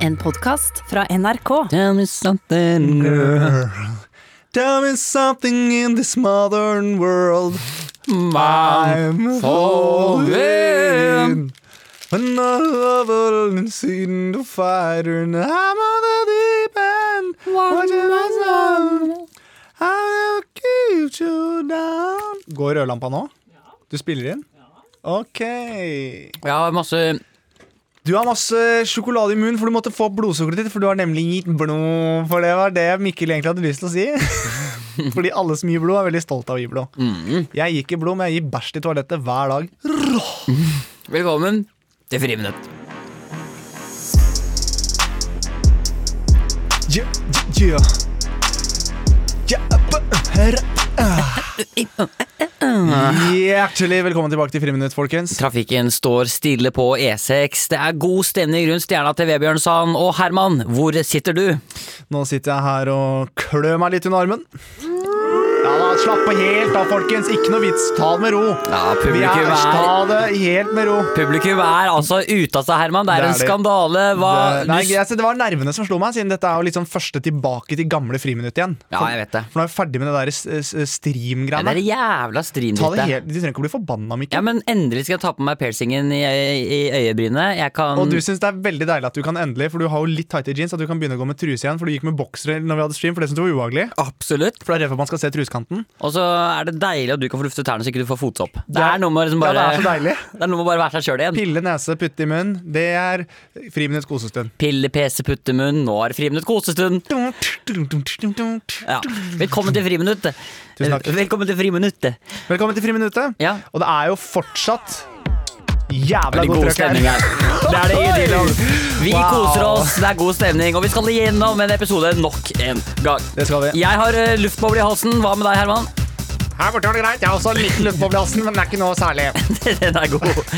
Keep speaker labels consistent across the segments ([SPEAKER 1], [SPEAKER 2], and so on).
[SPEAKER 1] En podkast fra NRK.
[SPEAKER 2] Tell me something girl. Tell me something in this modern world. I'm falling. When I love all and seen the fighter and I'm on the deep end. Watching my son. I'll keep you down. Går rødlampa nå? Du spiller inn? Ok.
[SPEAKER 3] Jeg har masse
[SPEAKER 2] Du har masse sjokolade i munnen, for du måtte få opp blodsukkeret ditt. For du har nemlig gitt blod. For det var det Mikkel egentlig hadde lyst til å si. Fordi alle som gir blod, er veldig stolt av å gi blod. Jeg gir ikke blod, men jeg gir bæsj til toalettet hver dag.
[SPEAKER 3] Velkommen til Friminutt.
[SPEAKER 2] Yeah, yeah. Yeah, up, her, uh. Hjertelig velkommen tilbake til Friminutt, folkens.
[SPEAKER 3] Trafikken står stille på E6. Det er god stemning rundt stjerna til Vebjørn Sand. Og Herman, hvor sitter du?
[SPEAKER 2] Nå sitter jeg her og klør meg litt under armen. Ja da, Slapp av helt av, folkens. Ikke noe vits. Ta det med ro.
[SPEAKER 3] Ja,
[SPEAKER 2] Vi
[SPEAKER 3] publikum
[SPEAKER 2] er,
[SPEAKER 3] er
[SPEAKER 2] ta det helt med ro.
[SPEAKER 3] Publikum er altså ute av seg, Herman. Det
[SPEAKER 2] Det
[SPEAKER 3] er
[SPEAKER 2] er
[SPEAKER 3] en
[SPEAKER 2] det.
[SPEAKER 3] skandale. Hva
[SPEAKER 2] Det, nei,
[SPEAKER 3] du s-
[SPEAKER 2] altså, det var nervene som slo meg, siden dette er jo liksom første tilbake til gamle friminutt igjen.
[SPEAKER 3] Ja, jeg vet det.
[SPEAKER 2] For nå er vi ferdig med det der s- s-
[SPEAKER 3] Ja, det
[SPEAKER 2] stream-greiene.
[SPEAKER 3] er jævla
[SPEAKER 2] Ta det
[SPEAKER 3] strimdrittet.
[SPEAKER 2] helt, Du trenger ikke å bli forbanna, Mikkel.
[SPEAKER 3] Ja, men endelig skal jeg ta på meg piercingen i, i øyebrynet. Jeg kan
[SPEAKER 2] Og du syns det er veldig deilig at du kan endelig, for du har jo litt tighte jeans, at du kan begynne å gå med truse igjen, for du gikk med boksere når vi hadde stream, for det syntes du var ubehagelig.
[SPEAKER 3] Absolutt.
[SPEAKER 2] For det er redd for at man skal se trusekanten.
[SPEAKER 3] Og så er det deilig at du kan få lufte tærne så ikke du får fotsopp. Det
[SPEAKER 2] er-
[SPEAKER 3] er noe med å liksom
[SPEAKER 2] Ja,
[SPEAKER 3] bare,
[SPEAKER 2] det er så deilig.
[SPEAKER 3] det er noe med å bare være seg sjøl igjen.
[SPEAKER 2] Pille nese, putte i munn. Det er friminutts kosestund.
[SPEAKER 3] Pille, PC, puttemunn, nå er det friminutt kosestund. Ja. Velkommen til friminutt.
[SPEAKER 2] Tusen takk.
[SPEAKER 3] Velkommen til friminutt.
[SPEAKER 2] Velkommen til friminuttet.
[SPEAKER 3] Ja.
[SPEAKER 2] Og det er jo fortsatt jævla
[SPEAKER 3] Veldig
[SPEAKER 2] godt
[SPEAKER 3] god
[SPEAKER 2] trøkk her.
[SPEAKER 3] stemning her. Det er det ingen tvil om. Vi
[SPEAKER 2] Wow.
[SPEAKER 3] koser oss, det er god stemning, og vi skal igjennom en episode nok en gang.
[SPEAKER 2] Det skal vi.
[SPEAKER 3] Jeg har eh, luftboble i halsen. Hva med deg, Herman?
[SPEAKER 2] Her borte var det greit. Jeg har også en liten luftboble i halsen, men det er ikke noe særlig.
[SPEAKER 3] Den er god.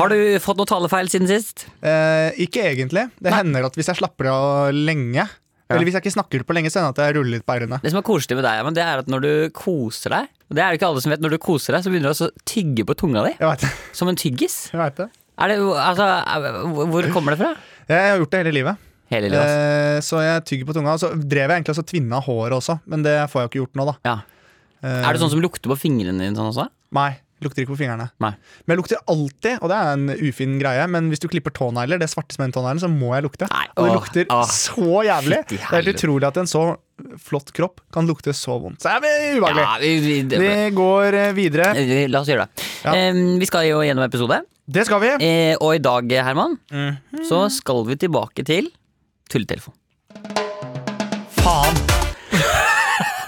[SPEAKER 3] Har du fått noe talefeil siden sist?
[SPEAKER 2] Eh, ikke egentlig. Det hender at hvis jeg slapper av lenge, eller hvis jeg ikke snakker på lenge, så hender det at jeg ruller litt på ærene.
[SPEAKER 3] Det som er koselig med deg, Herman, det er at når du koser deg og Det er det ikke alle som vet. Når du koser deg, så begynner du også å tygge på tunga di.
[SPEAKER 2] Jeg veit det.
[SPEAKER 3] Som en tyggis.
[SPEAKER 2] Jeg, vet det.
[SPEAKER 3] Er det, altså, er- hvor kommer det fra?
[SPEAKER 2] jeg har gjort det hele livet.
[SPEAKER 3] Hele livet. ass.
[SPEAKER 2] Eh, så jeg tygger på tunga. Og så drev jeg egentlig også tvinna håret også, men det får jeg jo ikke gjort nå, da.
[SPEAKER 3] Ja. Er det sånn som lukter på fingrene dine sånn også?
[SPEAKER 2] Nei. Lukter ikke på fingrene.
[SPEAKER 3] Nei.
[SPEAKER 2] Men jeg lukter alltid, og det er en ufin greie, men hvis du klipper tånegler, det svarte som er en tånegl, så må jeg lukte.
[SPEAKER 3] Nei,
[SPEAKER 2] og det
[SPEAKER 3] åh,
[SPEAKER 2] lukter
[SPEAKER 3] åh.
[SPEAKER 2] så jævlig.
[SPEAKER 3] Fytti
[SPEAKER 2] Det er helt
[SPEAKER 3] helvete.
[SPEAKER 2] utrolig at en så flott kropp kan lukte så vondt. Så det er ubehagelig.
[SPEAKER 3] Ja, vi, vi, det,
[SPEAKER 2] Vi går eh, videre.
[SPEAKER 3] Eh, La oss gjøre det.
[SPEAKER 2] Ja.
[SPEAKER 3] Em, vi skal jo gjennom episode,
[SPEAKER 2] Det skal vi.
[SPEAKER 3] eh, og i dag, Herman,
[SPEAKER 2] Mhm.
[SPEAKER 3] så skal vi tilbake til tulletelefon.
[SPEAKER 2] Faen!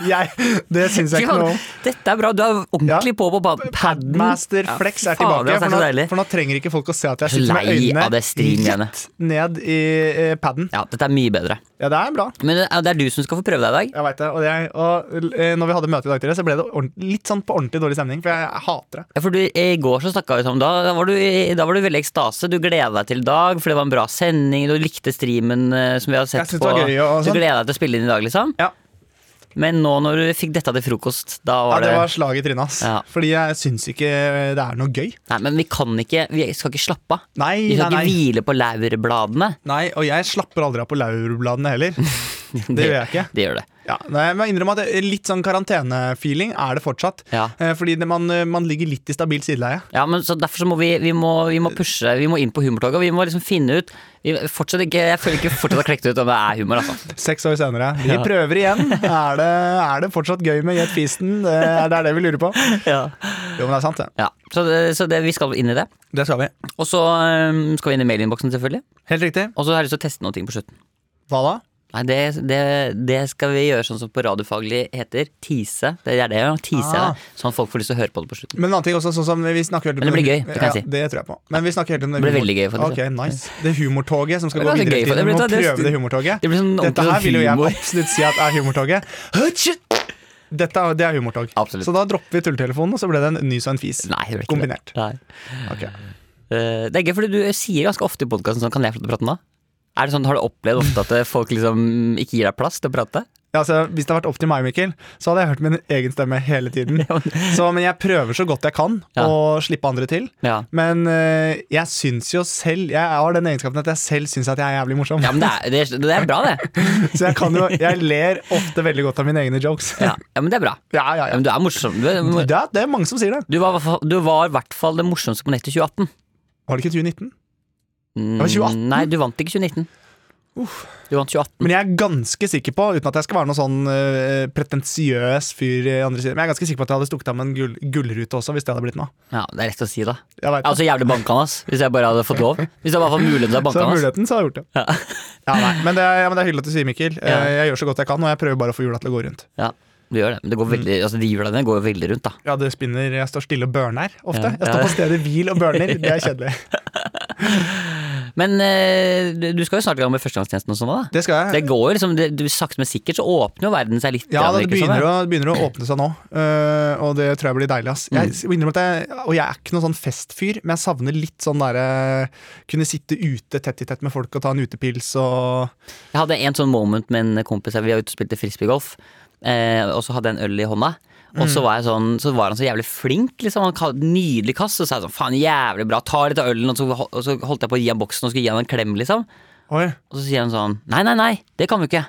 [SPEAKER 2] Jeg, det syns jeg
[SPEAKER 3] Fy
[SPEAKER 2] ikke
[SPEAKER 3] faen,
[SPEAKER 2] noe om.
[SPEAKER 3] Dette er bra. Du er ordentlig
[SPEAKER 2] Ja.
[SPEAKER 3] på på pad- padden.
[SPEAKER 2] Master
[SPEAKER 3] Ja,
[SPEAKER 2] Flex er
[SPEAKER 3] fy faen,
[SPEAKER 2] tilbake,
[SPEAKER 3] det er
[SPEAKER 2] for
[SPEAKER 3] så
[SPEAKER 2] nå,
[SPEAKER 3] deilig.
[SPEAKER 2] for nå trenger ikke folk å se at jeg sitter med
[SPEAKER 3] Lei
[SPEAKER 2] øynene
[SPEAKER 3] av det streamgreiene.
[SPEAKER 2] rett ned i eh, paden.
[SPEAKER 3] Ja, dette er mye bedre.
[SPEAKER 2] Ja, det er bra.
[SPEAKER 3] Men det er- det er du som skal få prøve deg i dag.
[SPEAKER 2] Jeg vet det. Og, jeg, og eh, når vi hadde møte i dag, tidlig, så ble det ordent- litt sånn på ordentlig dårlig stemning, for jeg hater det.
[SPEAKER 3] Ja, For du, I går så snakka vi sammen. Da, da, var du, i- da var du veldig i ekstase. Du gleda deg til i dag, for det var en bra sending. Du likte streamen eh, som vi har sett
[SPEAKER 2] Jeg synes det
[SPEAKER 3] på.
[SPEAKER 2] var gøy og
[SPEAKER 3] du
[SPEAKER 2] sånn.
[SPEAKER 3] gleda deg til å spille inn i dag, liksom.
[SPEAKER 2] Ja.
[SPEAKER 3] Men nå når du fikk dette til frokost, da
[SPEAKER 2] Ja,
[SPEAKER 3] var
[SPEAKER 2] det
[SPEAKER 3] det,
[SPEAKER 2] var slag i trynet, ass.
[SPEAKER 3] Ja.
[SPEAKER 2] Fordi jeg syns ikke eh, det er noe gøy.
[SPEAKER 3] Nei, men vi kan ikke Vi skal ikke slappe av.
[SPEAKER 2] Nei,
[SPEAKER 3] Vi
[SPEAKER 2] nei,
[SPEAKER 3] skal ikke
[SPEAKER 2] nei.
[SPEAKER 3] hvile på laurbladene.
[SPEAKER 2] nei. Og jeg slapper aldri av på laurbladene heller. Det gjør jeg ikke.
[SPEAKER 3] Det gjør det.
[SPEAKER 2] Ja, nei, jeg må innrømme at det- Litt sånn karantenefeeling er det fortsatt.
[SPEAKER 3] Ja.
[SPEAKER 2] Eh, Fordi det, man, eh, man ligger litt i stabilt sideleie.
[SPEAKER 3] Ja, men så Derfor så må vi, vi, må, vi må pushe, vi må inn på humortoget. Vi må liksom finne ut vi fortsatt ikke, Jeg føler ikke vi fortsatt har klekt ut om det er humor. altså
[SPEAKER 2] Seks år senere. Vi prøver igjen. Er det, er det fortsatt gøy med Jet Feasten? Det er det er det vi lurer på.
[SPEAKER 3] Ja,
[SPEAKER 2] Jo, men det er sant, det.
[SPEAKER 3] Så, det, så det, vi skal inn i det.
[SPEAKER 2] Det skal vi.
[SPEAKER 3] Og så øhm, skal vi inn i mailinnboksen, selvfølgelig.
[SPEAKER 2] Helt riktig.
[SPEAKER 3] Og så har jeg lyst til å teste noen ting på slutten.
[SPEAKER 2] Hva da?
[SPEAKER 3] Nei, det, det, det skal vi gjøre sånn som på radiofaglig heter tease. Det er det, ja. Tease,
[SPEAKER 2] Ah.
[SPEAKER 3] sånn at folk får lyst til å høre på det på slutten.
[SPEAKER 2] Men en annen ting også, sånn som vi snakker hele
[SPEAKER 3] Men det blir gøy, det kan jeg si.
[SPEAKER 2] ja, det tror jeg på. Men vi snakker hele tiden om
[SPEAKER 3] Det blir
[SPEAKER 2] humor-
[SPEAKER 3] veldig gøy, faktisk.
[SPEAKER 2] Ok, nice. Det humortoget som skal
[SPEAKER 3] Det
[SPEAKER 2] gå
[SPEAKER 3] blir
[SPEAKER 2] videre
[SPEAKER 3] gøy,
[SPEAKER 2] i tiden.
[SPEAKER 3] for
[SPEAKER 2] Vi
[SPEAKER 3] det
[SPEAKER 2] må
[SPEAKER 3] blir-
[SPEAKER 2] prøve det humortoget.
[SPEAKER 3] det blir sånn
[SPEAKER 2] Dette
[SPEAKER 3] ordentlig
[SPEAKER 2] her vil jo jeg
[SPEAKER 3] humor.
[SPEAKER 2] absolutt si at er humortoget. Hutsch! Dette er, det er humortog.
[SPEAKER 3] Absolutt.
[SPEAKER 2] Så da dropper vi tulletelefonen, og så ble det en nys og en fis.
[SPEAKER 3] Nei, det blir ikke
[SPEAKER 2] Kombinert.
[SPEAKER 3] Det. Nei.
[SPEAKER 2] Ok.
[SPEAKER 3] Eh, Det er gøy, fordi du sier ganske ofte i podkasten sånn, kan jeg få lov til å prate nå? Er det sånn, Har du opplevd ofte at eh, folk liksom ikke gir deg plass til å prate?
[SPEAKER 2] Ja, altså, hvis det hadde vært opp til meg, Mikkel, så hadde jeg hørt min egen stemme hele tiden. Så, men jeg prøver så godt jeg kan
[SPEAKER 3] Ja.
[SPEAKER 2] å slippe andre til.
[SPEAKER 3] Ja.
[SPEAKER 2] Men eh, jeg syns jo selv Jeg har den egenskapen at jeg selv syns at jeg er jævlig morsom.
[SPEAKER 3] Ja, men det er, det, er- det er bra, det.
[SPEAKER 2] Så jeg kan jo Jeg ler ofte veldig godt av mine egne jokes.
[SPEAKER 3] Ja, ja men det er bra.
[SPEAKER 2] Ja, ja,
[SPEAKER 3] Ja,
[SPEAKER 2] ja.
[SPEAKER 3] men du er morsom. Du, er-
[SPEAKER 2] Det, er, det er mange som sier det.
[SPEAKER 3] du var i hvert fall- du var i hvert fall det morsomste på nettet i 2018.
[SPEAKER 2] Var det ikke 2019?
[SPEAKER 3] Mm,
[SPEAKER 2] var 2018.
[SPEAKER 3] Nei, du vant ikke 2019. Du vant 2018.
[SPEAKER 2] Men jeg er ganske sikker på, uten at jeg skal være noen sånn eh, pretensiøs fyr i andre siden, men jeg er ganske sikker på at jeg hadde stukket av med en gull, gullrute også, hvis det hadde blitt noe.
[SPEAKER 3] Ja, Det er lett å si, da.
[SPEAKER 2] Jeg vet
[SPEAKER 3] Jeg er
[SPEAKER 2] det.
[SPEAKER 3] altså jævlig banka han, ass. Hvis jeg bare hadde fått lov. Hvis jeg bare hadde fått muligheten til å banke
[SPEAKER 2] så
[SPEAKER 3] han, ass.
[SPEAKER 2] muligheten, så har jeg gjort det.
[SPEAKER 3] Ja.
[SPEAKER 2] Ja, nei, men, det er, ja, men det er hyggelig at du sier, Mikkel. Eh,
[SPEAKER 3] Ja.
[SPEAKER 2] Jeg gjør så godt jeg kan, og jeg prøver bare å få hjula til å gå rundt.
[SPEAKER 3] Ja, du gjør det. Men det går
[SPEAKER 2] Mm.
[SPEAKER 3] veldig, altså, de hjula dine går jo veldig rundt, da.
[SPEAKER 2] Ja, det spinner. Jeg står stille og børner ofte.
[SPEAKER 3] Ja.
[SPEAKER 2] Jeg står på stedet hvil og børner. Det er kjedelig.
[SPEAKER 3] Men eh, du- du skal jo snart i gang med førstegangstjenesten og sånn, da.
[SPEAKER 2] Det skal jeg.
[SPEAKER 3] Det går jo liksom, det, du, sakte, men sikkert så åpner jo verden seg litt.
[SPEAKER 2] Ja,
[SPEAKER 3] grann,
[SPEAKER 2] det
[SPEAKER 3] virker
[SPEAKER 2] begynner,
[SPEAKER 3] som,
[SPEAKER 2] å, det begynner å åpne seg nå, eh, og det tror jeg blir deilig. ass jeg,
[SPEAKER 3] Mm.
[SPEAKER 2] må innrømme at jeg, Og jeg er ikke noen sånn festfyr, men jeg savner litt sånn derre Kunne sitte ute tett i tett med folk og ta en utepils og
[SPEAKER 3] Jeg hadde en sånn moment med en kompis Vi var ute og spilte frisbeegolf eh, Og så hadde jeg en øl i hånda Og
[SPEAKER 2] Mm.
[SPEAKER 3] så var, jeg sånn, så var han så jævlig flink liksom. Han hadde en nydelig kast Og så sa jeg sånn, faen jævlig bra, ta litt av ølen Og så, hol- og så holdt jeg på å gi han boksen og skulle gi han en klem liksom.
[SPEAKER 2] Oi,
[SPEAKER 3] Og så sier han sånn, nei, nei, nei, det kan vi ikke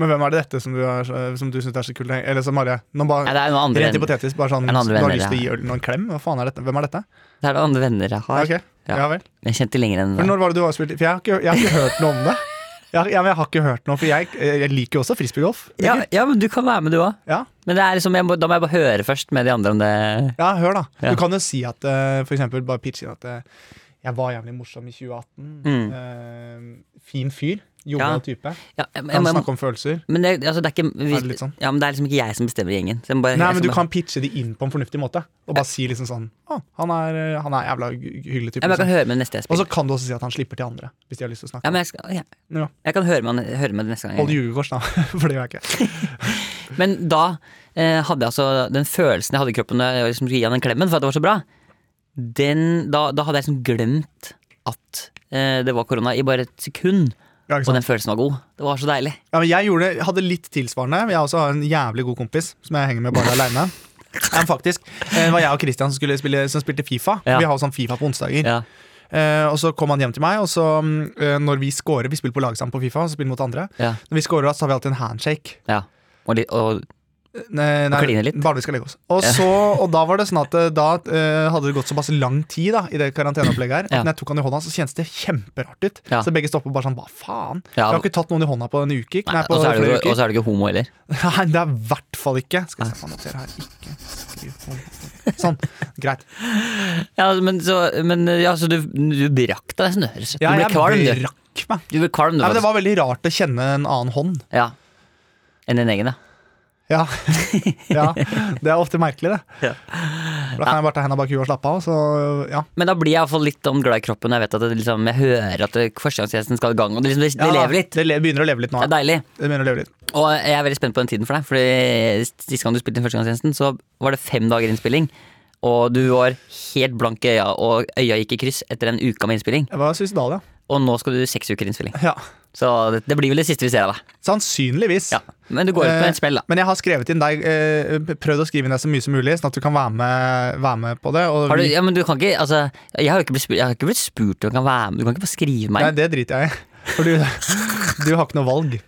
[SPEAKER 2] men hvem er det dette som du, er, så- som du syns er så kult? Eller som bare,
[SPEAKER 3] Nei,
[SPEAKER 2] nå bare
[SPEAKER 3] det er noen andre
[SPEAKER 2] Rent
[SPEAKER 3] venner
[SPEAKER 2] hypotetisk, bare sånn
[SPEAKER 3] En andre
[SPEAKER 2] Du har
[SPEAKER 3] venner,
[SPEAKER 2] lyst til å gi
[SPEAKER 3] ja.
[SPEAKER 2] ølen en klem? Hva faen er dette? Hvem er dette?
[SPEAKER 3] Det er noen andre venner jeg har
[SPEAKER 2] Ok,
[SPEAKER 3] Ja.
[SPEAKER 2] ja vel
[SPEAKER 3] Jeg kjente lenger enn
[SPEAKER 2] For
[SPEAKER 3] det
[SPEAKER 2] når var det du har spilt For jeg har ikke, jeg har ikke hørt noe om det. Jeg, jeg, jeg har ikke hørt noe, for jeg, jeg liker jo også frisbeegolf.
[SPEAKER 3] ja, ja, men du kan være med du også
[SPEAKER 2] Ja.
[SPEAKER 3] Men det er liksom, jeg må, da må jeg bare høre først med de andre om det
[SPEAKER 2] Ja, hør da.
[SPEAKER 3] Ja.
[SPEAKER 2] Du kan jo si at eh, for eksempel bare pitche inn at eh, jeg var jævlig morsom i 2018.
[SPEAKER 3] Mm.
[SPEAKER 2] eh, fin fyr. Jovial
[SPEAKER 3] Ja.
[SPEAKER 2] type.
[SPEAKER 3] ja, jeg, jeg,
[SPEAKER 2] Kan
[SPEAKER 3] jeg,
[SPEAKER 2] snakke om følelser.
[SPEAKER 3] Men det, altså, det er ikke
[SPEAKER 2] Er det litt sånn?
[SPEAKER 3] Ja, men det er liksom ikke jeg som bestemmer i gjengen Så jeg må bare, jeg
[SPEAKER 2] Nei, men
[SPEAKER 3] skal
[SPEAKER 2] Du
[SPEAKER 3] bare-
[SPEAKER 2] kan pitche de inn på en fornuftig måte. Og bare si liksom sånn Å, han er, eh, han er jævla gy-
[SPEAKER 3] Ja,
[SPEAKER 2] hyggelig
[SPEAKER 3] men jeg
[SPEAKER 2] type.
[SPEAKER 3] kan
[SPEAKER 2] Liksom.
[SPEAKER 3] høre med neste jeg
[SPEAKER 2] Og
[SPEAKER 3] spiller.
[SPEAKER 2] så kan du også si at han slipper til andre, hvis de har lyst til å
[SPEAKER 3] Ja,
[SPEAKER 2] snakke.
[SPEAKER 3] men jeg, skal, ja.
[SPEAKER 2] Ja.
[SPEAKER 3] jeg kan høre med, han- høre med det neste gang.
[SPEAKER 2] Hold
[SPEAKER 3] jeg-
[SPEAKER 2] jugekors, da. For det gjør jeg ikke.
[SPEAKER 3] Men da eh, hadde jeg altså den følelsen jeg hadde i kroppen når jeg liksom skulle gi han den klemmen for at det var så bra, den, da, da hadde jeg liksom glemt at eh, det var korona i bare et sekund.
[SPEAKER 2] Ja, ikke
[SPEAKER 3] Og
[SPEAKER 2] sant?
[SPEAKER 3] den følelsen var god. Det var så deilig.
[SPEAKER 2] Ja, men jeg gjorde, jeg hadde litt tilsvarende. men Jeg også har en jævlig god kompis som jeg henger med bare aleine. Faktisk. Eh, Det var jeg og Christian som, skulle spille, som spilte Fifa.
[SPEAKER 3] Ja.
[SPEAKER 2] Vi har jo sånn Fifa på onsdager.
[SPEAKER 3] Ja.
[SPEAKER 2] Eh, og så kom han hjem til meg, og så mm, eh, når vi scorer Vi spiller på lag sammen på Fifa, og så spiller vi mot andre.
[SPEAKER 3] ja,
[SPEAKER 2] Når vi scorer, da, så har vi alltid en handshake. Eh,
[SPEAKER 3] ja. Og, litt, og
[SPEAKER 2] Nei, nei,
[SPEAKER 3] Og kline litt.
[SPEAKER 2] Bare vi skal legge oss. Og, så, og da var det sånn at eh, da eh, hadde det gått såpass lang tid da i det karanteneopplegget her, at
[SPEAKER 3] Ja.
[SPEAKER 2] når jeg tok han i hånda, så kjentes det kjemperart ut.
[SPEAKER 3] Ja.
[SPEAKER 2] Så begge stopper bare sånn Hva faen?
[SPEAKER 3] Ja.
[SPEAKER 2] Jeg har ikke tatt noen i hånda på en uke. Nei,
[SPEAKER 3] nei,
[SPEAKER 2] på
[SPEAKER 3] og så er
[SPEAKER 2] flere
[SPEAKER 3] det jo- og
[SPEAKER 2] uker.
[SPEAKER 3] så er du ikke homo heller.
[SPEAKER 2] Nei, det er i hvert fall ikke. Skal vi se hva han noterer her. Ikke skriv om- Sånn. Greit.
[SPEAKER 3] Ja, altså, men så, men, ja, så du, du brakk deg nesten, du. rett og slett. Du
[SPEAKER 2] Ja,
[SPEAKER 3] ble
[SPEAKER 2] jeg
[SPEAKER 3] kvalm, du.
[SPEAKER 2] brakk meg.
[SPEAKER 3] Du ble kvalm, du.
[SPEAKER 2] Nei, men det
[SPEAKER 3] faktisk.
[SPEAKER 2] var veldig rart å kjenne en annen hånd.
[SPEAKER 3] Ja. Enn din egen, ja.
[SPEAKER 2] Ja. ja. Det er ofte merkelig, det.
[SPEAKER 3] Ja.
[SPEAKER 2] Da kan jeg bare ta henda bak huet og slappe av. Så ja.
[SPEAKER 3] Men da blir jeg i hvert fall litt sånn glad i kroppen. Jeg vet at det liksom, jeg hører at det- førstegangstjenesten skal i gang. Og det, liksom, det, det
[SPEAKER 2] Ja,
[SPEAKER 3] lever litt.
[SPEAKER 2] Det le- begynner å leve litt nå.
[SPEAKER 3] Det er
[SPEAKER 2] Ja.
[SPEAKER 3] deilig.
[SPEAKER 2] Det begynner å leve litt.
[SPEAKER 3] Og jeg er veldig spent på den tiden for deg. Fordi Sist gang du spilte inn førstegangstjenesten, så var det fem dager innspilling. Og du var helt blank i øya, og øya gikk i kryss etter en uke med innspilling.
[SPEAKER 2] Jeg var suicidal, ja.
[SPEAKER 3] Og nå skal du seks uker innspilling.
[SPEAKER 2] ja.
[SPEAKER 3] Så det, det blir vel det siste vi ser av deg.
[SPEAKER 2] Sannsynligvis.
[SPEAKER 3] Ja. Men du går ut
[SPEAKER 2] Eh,
[SPEAKER 3] på en smell, da.
[SPEAKER 2] Men jeg har skrevet inn deg eh, prøvd å skrive inn deg så mye som mulig, sånn at du kan være med, være med på det. Og
[SPEAKER 3] Har du,
[SPEAKER 2] vi-
[SPEAKER 3] ja, men du kan ikke, altså, jeg har jo ikke blitt spurt, jeg har ikke blitt spurt om jeg kan være med. Du kan ikke bare skrive meg
[SPEAKER 2] Nei,
[SPEAKER 3] inn.
[SPEAKER 2] det driter jeg i. For du, du har ikke noe valg.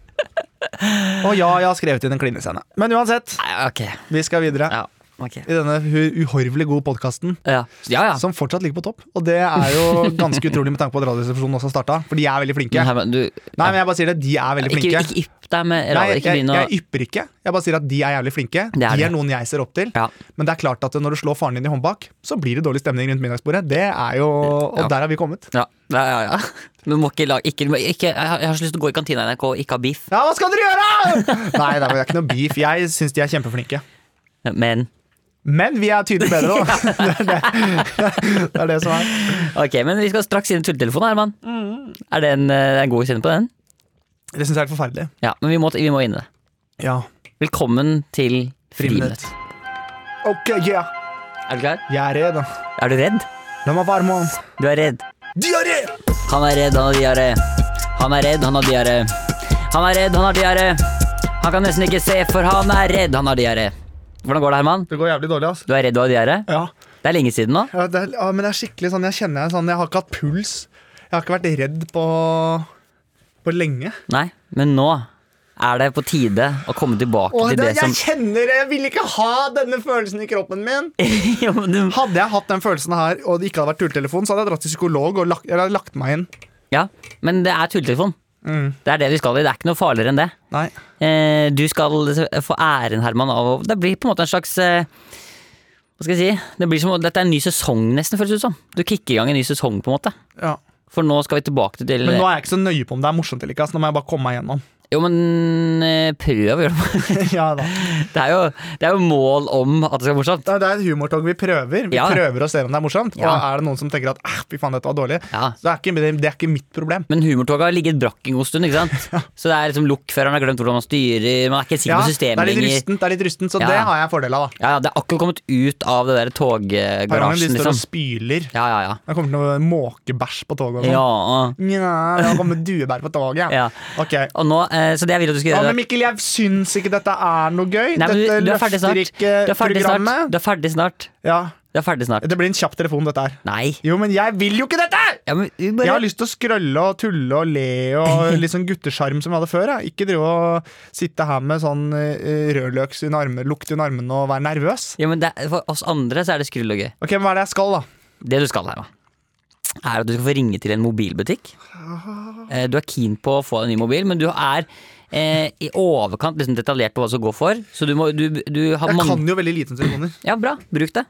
[SPEAKER 2] Og ja, jeg har skrevet inn en klinescene. Men uansett,
[SPEAKER 3] Nei, ok.
[SPEAKER 2] vi skal videre
[SPEAKER 3] Ja, ok.
[SPEAKER 2] i denne hu- uhorvelig gode podkasten.
[SPEAKER 3] Ja, ja. ja.
[SPEAKER 2] Som fortsatt ligger på topp, og det er jo ganske utrolig med tanke på at Radioresepsjonen også har starta. For de er veldig flinke.
[SPEAKER 3] Men Herman, du,
[SPEAKER 2] Nei, men jeg bare sier det, de er veldig
[SPEAKER 3] Ikke,
[SPEAKER 2] flinke.
[SPEAKER 3] ikke ypp deg med
[SPEAKER 2] Nei,
[SPEAKER 3] radio.
[SPEAKER 2] jeg,
[SPEAKER 3] Ikke
[SPEAKER 2] jeg,
[SPEAKER 3] begynn å
[SPEAKER 2] jeg ypper ikke. Jeg bare sier at de er jævlig flinke.
[SPEAKER 3] Det er
[SPEAKER 2] de
[SPEAKER 3] de.
[SPEAKER 2] er noen jeg ser opp til.
[SPEAKER 3] Ja.
[SPEAKER 2] Men det er klart at når du slår faren din i håndbak, så blir det dårlig stemning rundt middagsbordet. Det er jo, Og
[SPEAKER 3] Ja.
[SPEAKER 2] der har vi kommet.
[SPEAKER 3] Ja, ja, ja, ja. Men må ikke lage ikke, ikke, Jeg har jeg har så lyst til å gå i kantina i NRK og ikke ha beef.
[SPEAKER 2] Ja, hva skal dere gjøre?! Nei, det er ikke noe beef. Jeg syns de er kjempeflinke.
[SPEAKER 3] Men
[SPEAKER 2] Men vi er tydelig bedre, da. Det er det, det, er det som er.
[SPEAKER 3] ok, men vi skal straks inn i tulletelefonen, Herman. Er det en, eh, en god kjenne på den?
[SPEAKER 2] Det syns jeg er helt forferdelig.
[SPEAKER 3] Ja, men vi må, vi må inn i det.
[SPEAKER 2] Ja.
[SPEAKER 3] Velkommen til Friminutt.
[SPEAKER 2] Ok, yeah.
[SPEAKER 3] Er du klar?
[SPEAKER 2] Jeg er redd.
[SPEAKER 3] Er du redd?
[SPEAKER 2] La meg være med.
[SPEAKER 3] Du er redd.
[SPEAKER 2] Diaré!
[SPEAKER 3] Han er redd, han har diaré. Han er redd, han har diaré. Han er redd, han har diaré. Han kan nesten ikke se, for han er redd. Han har diaré. Hvordan går det, Herman?
[SPEAKER 2] Det går jævlig dårlig, altså.
[SPEAKER 3] Du er redd du har diaré?
[SPEAKER 2] Ja.
[SPEAKER 3] Det er lenge siden nå.
[SPEAKER 2] Ja, det er, ja, men det er skikkelig sånn, jeg kjenner jeg sånn, jeg har ikke hatt puls. Jeg har ikke vært redd på, på lenge.
[SPEAKER 3] Nei, men nå er det på tide å komme tilbake
[SPEAKER 2] Åh,
[SPEAKER 3] til
[SPEAKER 2] det,
[SPEAKER 3] det,
[SPEAKER 2] jeg
[SPEAKER 3] som
[SPEAKER 2] kjenner det! Jeg vil ikke ha denne følelsen i kroppen min!
[SPEAKER 3] Jo, men du-
[SPEAKER 2] Hadde jeg hatt den følelsen her, og det ikke hadde vært tulletelefon, så hadde jeg dratt til psykolog og lagt, eller lagt meg inn. Mm.
[SPEAKER 3] Ja, men det er tulletelefon. Det er det vi skal i. Det er ikke noe farligere enn det.
[SPEAKER 2] Nei.
[SPEAKER 3] Eh, du skal få æren, Herman, av å Det blir på en måte en slags eh, Hva skal jeg si? Det blir som, å- dette er en ny sesong, nesten, føles det ut som. Du kicker i gang en ny sesong, på en måte.
[SPEAKER 2] Ja.
[SPEAKER 3] For nå skal vi tilbake til
[SPEAKER 2] Men nå er jeg ikke så nøye på om det er morsomt eller ikke. ass. Nå må jeg bare komme meg gjennom.
[SPEAKER 3] Jo, men eh, prøv å gjøre det.
[SPEAKER 2] ja, da.
[SPEAKER 3] Det er, jo, det er jo mål om at det skal være morsomt.
[SPEAKER 2] Det er- det er et humortog vi prøver. Vi
[SPEAKER 3] Ja.
[SPEAKER 2] prøver å se om det er morsomt.
[SPEAKER 3] Ja.
[SPEAKER 2] Og er det noen som tenker at «Ah, fy faen, dette var dårlig,
[SPEAKER 3] Ja.
[SPEAKER 2] så det er, ikke, det, det er ikke mitt problem.
[SPEAKER 3] Men humortoget har ligget brakk en god stund, ikke sant? Så det er liksom lokføreren har glemt hvordan man styrer, man er ikke helt sikker
[SPEAKER 2] Ja,
[SPEAKER 3] på
[SPEAKER 2] det, er
[SPEAKER 3] systemet
[SPEAKER 2] litt
[SPEAKER 3] lenger.
[SPEAKER 2] rustent, det er litt rustent, så
[SPEAKER 3] Ja.
[SPEAKER 2] det har jeg fordel av. da
[SPEAKER 3] Ja, ja, det er akkurat kommet ut av det der
[SPEAKER 2] Perrongen, de
[SPEAKER 3] toggarasjen,
[SPEAKER 2] står og
[SPEAKER 3] liksom.
[SPEAKER 2] spyler.
[SPEAKER 3] Ja, ja, ja.
[SPEAKER 2] Det kommer til noe måkebæsj på toget. og sånn.
[SPEAKER 3] ja.
[SPEAKER 2] Nja, det kommer duebær på toget.
[SPEAKER 3] Ja.
[SPEAKER 2] Ok.
[SPEAKER 3] Og nå, eh, så det jeg vil at du skal
[SPEAKER 2] Ja,
[SPEAKER 3] gjøre
[SPEAKER 2] men Mikkel, jeg syns ikke dette er noe gøy.
[SPEAKER 3] Nei, men du,
[SPEAKER 2] dette
[SPEAKER 3] du er ferdig
[SPEAKER 2] løfter
[SPEAKER 3] snart.
[SPEAKER 2] ikke
[SPEAKER 3] Du er ferdig snart.
[SPEAKER 2] programmet.
[SPEAKER 3] Du er ferdig snart.
[SPEAKER 2] Ja,
[SPEAKER 3] Du er ferdig snart.
[SPEAKER 2] Det blir en kjapp telefon, dette her.
[SPEAKER 3] Nei.
[SPEAKER 2] Jo, men jeg vil jo ikke dette!
[SPEAKER 3] Ja, men vi
[SPEAKER 2] Jeg
[SPEAKER 3] bare...
[SPEAKER 2] har lyst til å skrølle og tulle og le og litt sånn guttesjarm som vi hadde før. Jeg. Ikke drive og sitte her med sånn eh, rødløks under armen, lukt under armene og være nervøs.
[SPEAKER 3] Ja, men det, er- for oss andre så er det skrull og gøy.
[SPEAKER 2] Ok, men Hva er det jeg skal, da?
[SPEAKER 3] Det du skal, Herman, er at du skal få ringe til en mobilbutikk. Eh, Du er keen på å få en ny mobil, men du er eh, i overkant liksom detaljert på hva du skal gå for. Så du må du, du har
[SPEAKER 2] Jeg
[SPEAKER 3] mange
[SPEAKER 2] kan jo veldig lite om telefoner.
[SPEAKER 3] Ja, bra. Bruk det.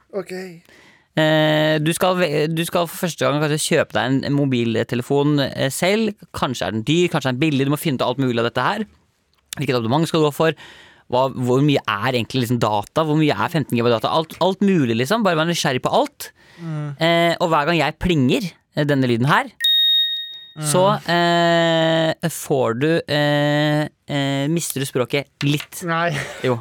[SPEAKER 3] Eh, Du skal, ve- du skal for første gang kanskje kjøpe deg en en mobiltelefon eh, selv. Kanskje er den dyr, kanskje er den billig. Du må finne ut alt mulig av dette her. Hvilket abonnement skal du gå for? Hva, hvor mye er egentlig liksom data? Hvor mye er 15 GB data? Alt, alt mulig, liksom. Bare vær nysgjerrig på alt. Eh, og hver gang jeg plinger eh, denne lyden her, så eh, får du eh, eh, Mister du språket litt.
[SPEAKER 2] Nei.
[SPEAKER 3] Jo.